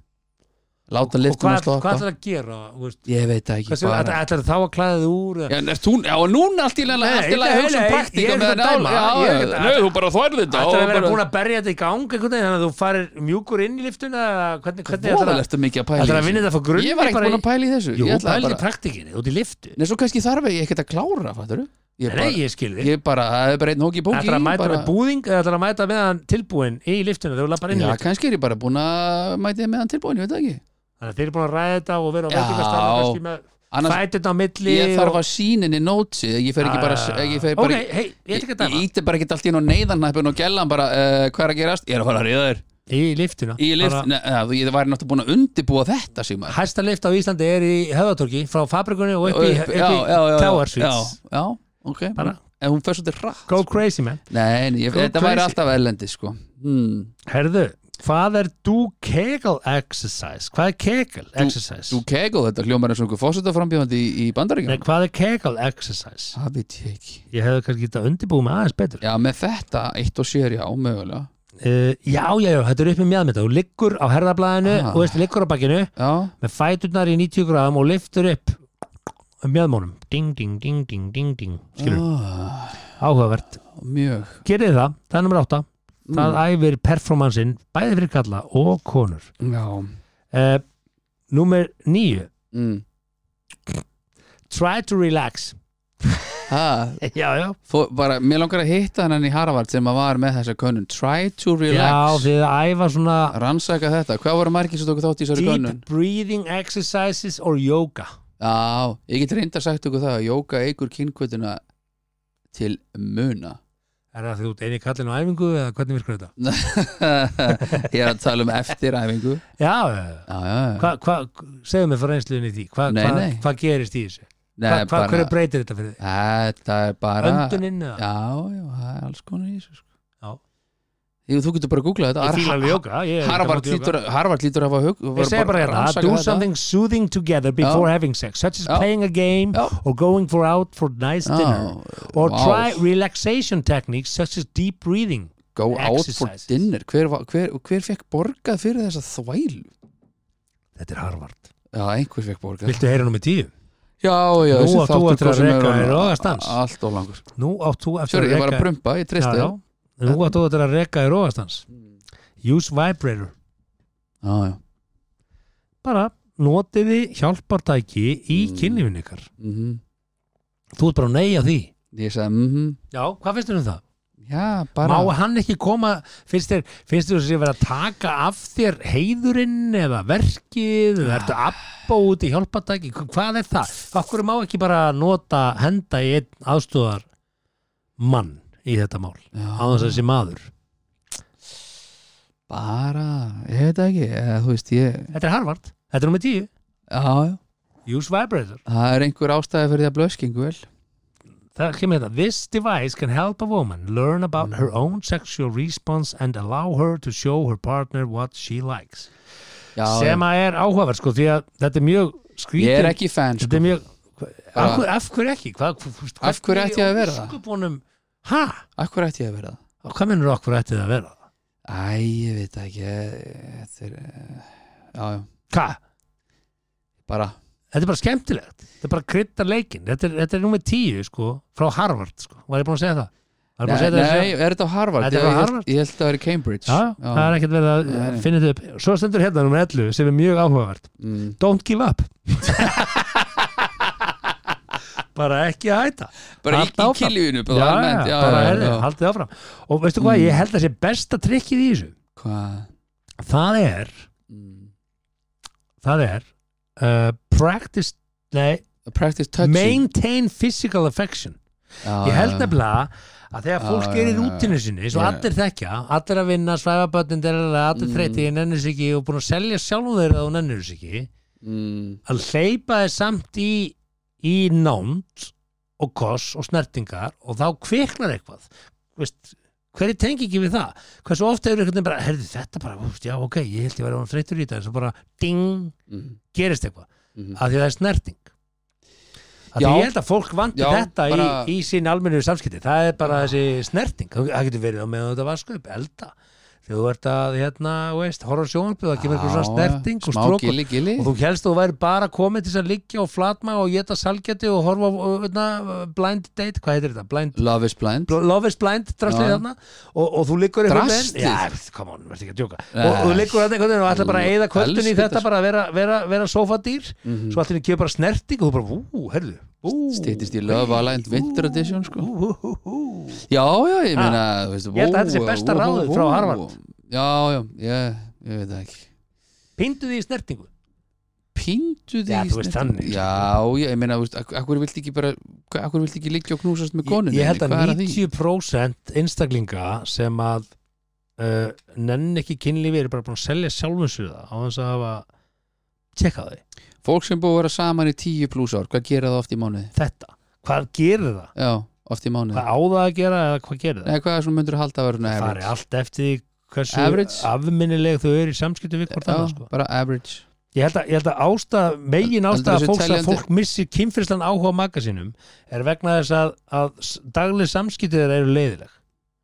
Láta
og
liftuna
hvað, hvað
stoppa
ætlar að gera þú veist,
Ég veit það ekki
hversu, bara...
bara
ætlar þá að klæða þig úr eða-
Já, en ert þú, já, og núna allt í lega
Nei,
allt í lega
nei,
hugsa um
nei, ég
praktika
er ekki að dæma, ég er ekki að-
Nei, þú bara þværði þetta
ætlar
og
að vera
bara-
búin að berja þetta í gang einhvern veginn þannig að þú farir mjúkur inn í liftuna eða hvernig, hvernig ætlar að
Voðalegt að mikið að pæla í
ætlar að
þessu.
vinna þetta frá grunni
Ég var ekkert
bara
búin
í-
að pæla í þessu
Jú,
Ég ætlaði
pælir í
bara-
praktikinni, út í liftu
Nei, svo kannski þarf ég ekkert að klára, fattur Ég
Nei,
bara,
ég skil þig
ég bara, það er bara einn hóki bóki
Ætlar að mæta
bara-
með búðing eða ætlar að mæta með hann tilbúin í liftuna þegar þú lappar inn í
Já,
liftuna
kannski er ég bara búin að mæti meðan tilbúin, ég veit það ekki
Þannig að þeir eru búin að ræða þetta og vera á
Já.
veitingastanum kannski með
Annars,
fætinn á milli
ég
og- Ah,
þarf að síninni nótsi Ég fer ekki bara, ég fer
Ok,
bara
hei, ég ætla ekki að dæma
Ég íti bara ekki allt í nú neyðarnæppin og gellan bara, uh, hvað er að gerast? Ég er að fara að ríða þér
Í liftuna
Í lift,
Bara-
neða, ég væri náttúrulega búin að undirbúa þetta sem maður
Hæsta lift á Íslandi er í höfðatorki frá fabrikunni og upp í, upp
já, já, já,
í
já,
Tower
já,
Suites
já, ok
Bara-
En hún fer svolítið rætt
Go crazy man
Nei, nei, ég,
Go
þetta væri
crazy.
alltaf erlendi sko. hmm.
Herðu, hvað er do kegel exercise? Hvað er kegel exercise?
Þú kegul þetta hljómar eins og einhver fósitaframbjóðandi í, í
Nei,
bandaríkjum
hvað er kegel exercise?
Það veit ég ekki
Ég hefði kannski getað undirbúið með aðeins betur
Já, með þetta eitt og sér já, mögulega
uh, Já, já, já, þetta er upp með mjadmynda Þú liggur á herðablaðinu
Ah.
og veist, liggur á bakkinu
Já,
með fæturnar í 90 gráðum og liftur upp mjadmónum Ding, ding, ding, ding, ding, ding Skilur,
ah,
áhugavert
mjög
Gerið það, það er nummer átta
Mm.
Það æfir performansin bæði fyrir kalla og konur
Já
uh, Númer níu
mm.
Try to relax
ha,
Já, já
fó, bara, Mér langar að hitta hann í Harvard sem að var með þessa könnun Try to
Já,
relax
þið að æfa svona
Rannsaka þetta, hvað voru margir sem tóku þátt í þessari könnun?
Deep breathing exercises or yoga
Já, ég get reyndar sagt okkur það að jóka eigur kynkvötuna til muna
Er það því út eini kallin á æfingu eða hvernig virkur þetta?
Ég er að tala um eftiræfingu
Já, já, já
Já, já, já
Hvað, hva, segðu mig frá reynsluðinni í því Hvað
Nei,
hva,
nei.
hva gerist í þessu?
Nei,
Hvað hva,
bara-
hverju breytir þetta fyrir þig?
Þetta er bara
Önduninn
Já,
eða?
já, það er alls konar í þessu sko.
Já.
Jú, þú getur bara að googla þetta
Ég fíla alveg
Har-
yoga ég er ekki á
Harvard
móti yoga.
lítur, Harvard lítur að hafa hug
Ég segi bara hérna,
rannsaka
do
þetta.
something soothing together before having sex, such as
Já.
playing a game
Já.
or going for out for nice
Já,
dinner, or
vá.
try relaxation techniques such as deep breathing.
Go out for
exercises.
dinner Hver, var- hver, hver fekk borgað fyrir þessa þvælu?
Þetta er Harvard.
Já, einhver fekk borgað
Viltu heyra nummer tíu?
Já, já,
Nú
þessi
átt þú eftir
þáttur
að
hvað sem
reka
er
þér
orðinn
rogastans.
Allt og langur
Nú átt þú eftir
Sjóri, ég
að
var að
reka...
prumpa, ég
Já,
treysti
já.
þér
Nú átt þú eftir að reka í róastans. Mm. Use vibrator.
Já, já
Bara notiði hjálpartæki í
Mm.
mm. kynlífinu ykkar.
mhm.
Þú ert bara að neyja því.
Ég sagði, mhm,
Já, hvað finnst þér um það?
já, bara
Má hann ekki koma, finnst þér, finnst þér þessi verið að taka af þér heiðurinn eða verkið eða ertu abba út í hjálpatæki Hva- hvað er það? Okkur má ekki bara nota henda í einn aðstúðar mann í þetta mál á þess að þessi maður
bara, ég veit það ekki eða, þú veist, ég,
Þetta er Harvard, þetta er nummer 10
já, já
Use vibrator
það er einhver ástæði fyrir því að blöskingu vel
Það kemur þetta This device can help a woman learn about her own sexual response and allow her to show her partner what she likes
já,
sem
já.
að er áhugaverð sko því að þetta er mjög skrítið
ég er ekki fan,
þetta
sko
er mjög
Bara-
af, hver, af hverju ekki Hva, hva- hva-
Af hverju
hvernig
ætti ég að vera það?
ósköpunum, ha,
af hverju ætti ég að vera það?
hvað minnur af hverju ætti það að vera það?
Æ, ég veit það ekki eh, þetta er, eh, já, já,
hvað,
bara
þetta er bara skemmtilegt þetta er bara kryddar leikin, þetta er, þetta er númer tíu sko, frá Harvard, sko, var ég búin að segja það var ég
nei,
búin að segja það
nei, er þetta á Harvard?
Þetta er
Ég-
á
ég-
Harvard?
ég held að það vera Cambridge
Já, það er ekkert verið að
Nei, nei.
finna þetta upp Svo stendur hérna nummer 11 sem er mjög áhugavert
mm.
Don't give up Bara ekki að hætta
bara
Halda
í, í
áfram.
killjunu bara,
Já,
almennt,
já, bara herði,
já.
haldið áfram Og veistu hvað,
Mm.
ég held að sé besta trikkið í þessu
hvað?
það er
Mm.
það er uh, practice, nei,
practice touching
maintain physical affection
já,
ég held
já, já.
nefnilega að þegar
Já,
fólk
já,
er í
já,
rútinu sinni svo
Já.
allir þekkja, allir að vinna svæfabötnin, allir
Mm.
þreyti, ég nennir sig ekki og búin að selja sjálfum þeirra að þú nennir sig ekki
mm.
að hleypa þeir samt í í nánd og koss og snertingar og þá kviknar eitthvað Vist, hver er tengi ekki við það hversu ofta eru einhvern veginn bara, herðu þetta bara úst, já ok, ég held ég var án þreytur í þetta en svo bara ding,
Mm.
gerist eitthvað
Mm.
af því að það er snerting Því ég held að fólk vandi
Já,
þetta
bara-
í, í sín almennu samskipti það er bara þessi snerting það getur verið á meðan þetta vasku upp elda þegar þú ert að hérna, þú veist, horfa sjónvarpið það kemur eitthvað
Já,
svona snerting og
smá
strókur
gilli, gilli.
og þú helst þú væri bara komið til þess að liggja og flatma og geta salgjati og horfa á, hérna, blind date, hvað heitir þetta? Blind
Love is blind
Bl- Love is Blind draslið
Já.
þarna og, og þú liggur einhvern
Draslið?
veginn já, come on, verður ekki að djóka
Nei.
og, og þú liggur þarna einhvern veginn og ætlar bara að eyða kvöldin í
Elsku
þetta
þetta. Mm.
bara að vera, vera, vera sofadýr
Mhm.
svo allir kemur bara snerting og þú bara, ú, herðu ú,
Stýttist í Love Aligned Winter Edition sko.
ú, ú, ú, ú.
Já, já, ég
Ah,
meina þú veist,
ég held að
vó,
þetta sé besta
vó, vó,
ráðið
vó.
frá Harvard.
Já, já, ég, ég veit það ekki
pindu því í snertingu
Píndu því
Já,
í
þú veist
snertingu.
þannig, sko.
Já, ég, ég meina, þú veist, ak- akkur viltu ekki bara Akkur viltu ekki liggja og knúsast með konunni
ég, ég held að
Hvað er því?
90% einstaklinga sem að uh, nenn ekki kynlífi eru bara búin að selja sjálfum sér það á þess að hafa tjekkað því,
Fólk sem búið að vera saman í 10 pluss ár Hvað gera það oft í mánuði?
þetta, hvað gerir það
Já, oft í mánuði
hvað á það að gera eða hvað gerir það
Nei, hvað er svona myndur halda að vera svona
það er
average?
allt eftir því hversu
Average.
afminnileg þau eru í samskiptum við hvort
Já,
annað sko.
bara average
ég held að, ég held að ásta, megin ásta
Heldur þessu
fólks að
teljandi?
fólk missir kynfyrslan áhuga á magasinum er vegna þess að, að s- dagleg samskiptið þeirra eru leiðileg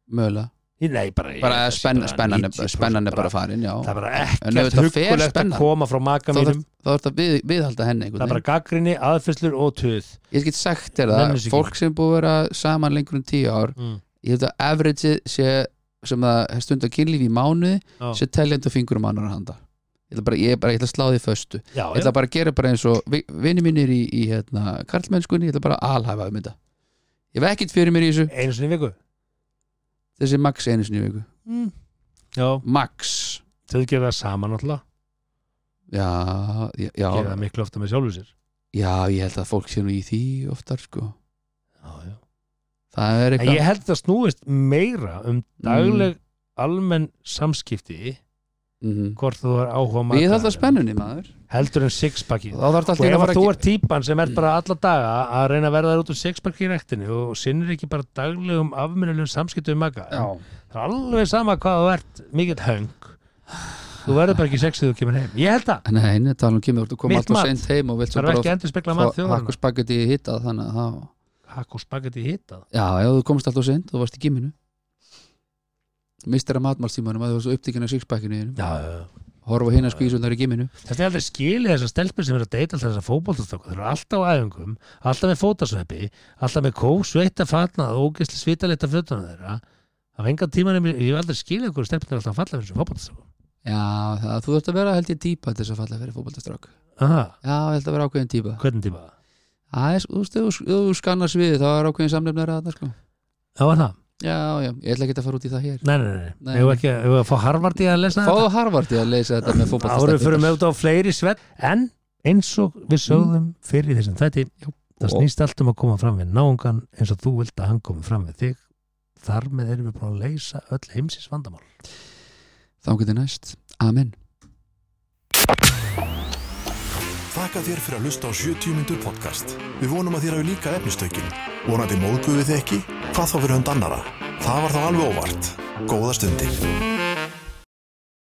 Mögulega
Ég- Nei, bara, ég,
Bara
það sé
spenn- spennan er-
90%
spennan er bara farin, já
það er bara
En ef
ekkert
þetta fer
huggulegt að
spennan,
koma frá maka
Þá
mínum
þarf þá þarf þetta við, viðhalda henni
það er
einhvern
bara gaggrinni, aðfyrslur og tuð
veginn Ég get sagt þér
Nenni
það,
sig ekki.
fólk sem búið að vera saman lengur en 10 ár
Mm.
Ég held að average sé sem það stundar kynlíf í mánuði
Já.
sé teljandi á fingurum annar handa Ég ætla bara, ég er bara, ég ætla að slá því föstu
já,
Ég ætla bara að gera bara eins og vi- vinir mínir í, í hérna, karlmennskunni, ég ætla bara að alhæfa um þetta Ég hef ekkert fyrir mér í þessu,
einu sinni í viku
þessi max einu sinni í viku
mm. já,
Max,
þau gera það saman alltaf
já, já, já
gera það miklu ofta með sjálfu sér
Já, ég held að fólk sé nú í því oftar sko
já, já
Það er
En
eitthvað
ég held að snúist meira um dagleg
Mm.
almenn samskipti
Mhm.
hvort þú er áhuga á
Við haldum
mataræðum,
að spennunni maður
heldur en sixpacki
Þá þarf þetta
og
alltaf að
ef
fara
að þú
að Mm.
er típan sem er bara alla daga að reyna að verða þér út úr sixpacki í rektinu og sinnir ekki bara daglegum afminnilegum samskiptum maka
Já,
það er alveg sama hvað þú ert mikill höng þú verður bara ekki sexið þú kemur heim ég held það,
nei, nei, talan kemur Þú kom
Mitt
alltaf
mat.
sent heim og vilt svo
það er ekki
bara
endur spekla
fá
mat þjóðan
hakku spagetti í hittað þannig að þá
hakk og spagetti hittað
Já, já, þú komst alltaf sent, þú varst í gimminu Mistir að matmálstímanum að þú varst upptíkinn af sixpackinu þínum. Horfa hinn að skvísunar í gimminu
Þetta er aldrei skilið þessar stelpur sem eru að deyta alltaf þessar fótboltastöku. Þeir eru alltaf á æfingum, alltaf með fótasveppi, alltaf með kó, sveita fatnað og ógeðsli svitalita fötuna þeirra. Það var engan tíma nefnir, ég hef aldrei skilið hverju stelpur er alltaf að falla fyrir þessum fótboltastöku.
Já, það, þú þurft að vera held ég típa til þess að falla fyrir fótboltastrák
Aha,
Já, ég held að vera ákveðin típa
hvernig tíma það?
Æ, þú veist, ef þú- ef þú skannar sviðið þá er ákveðin samlefnir að sko
Já, var það?
Já, já, ég ætla ekki að fara út í það hér
Nei, nei, nei. nei.
Nei.
Hefur ekki, hefur að fá Harvard í að lesa þetta?
Fáðu Harvard í að leysa þetta
Það voru fyrir
með fótballstætti
með út á fleiri svett. En eins og við sögðum fyrir í þessum þætti, það
og-
snýst allt um að koma fram við náungan eins og þú vilt að hann komi fram við þig. Þar með erum við búin að leysa öll heimsins vandamál.
Þá getur næst, amen
Þakka þér fyrir að lusta á 70 mínútur podcast. Við vonum að þér hafi líka efnistökin. Vonandi móðguðu þið ekki? Hvað þá fyrir hund annara? Það var þá alveg óvart. Góða stundir.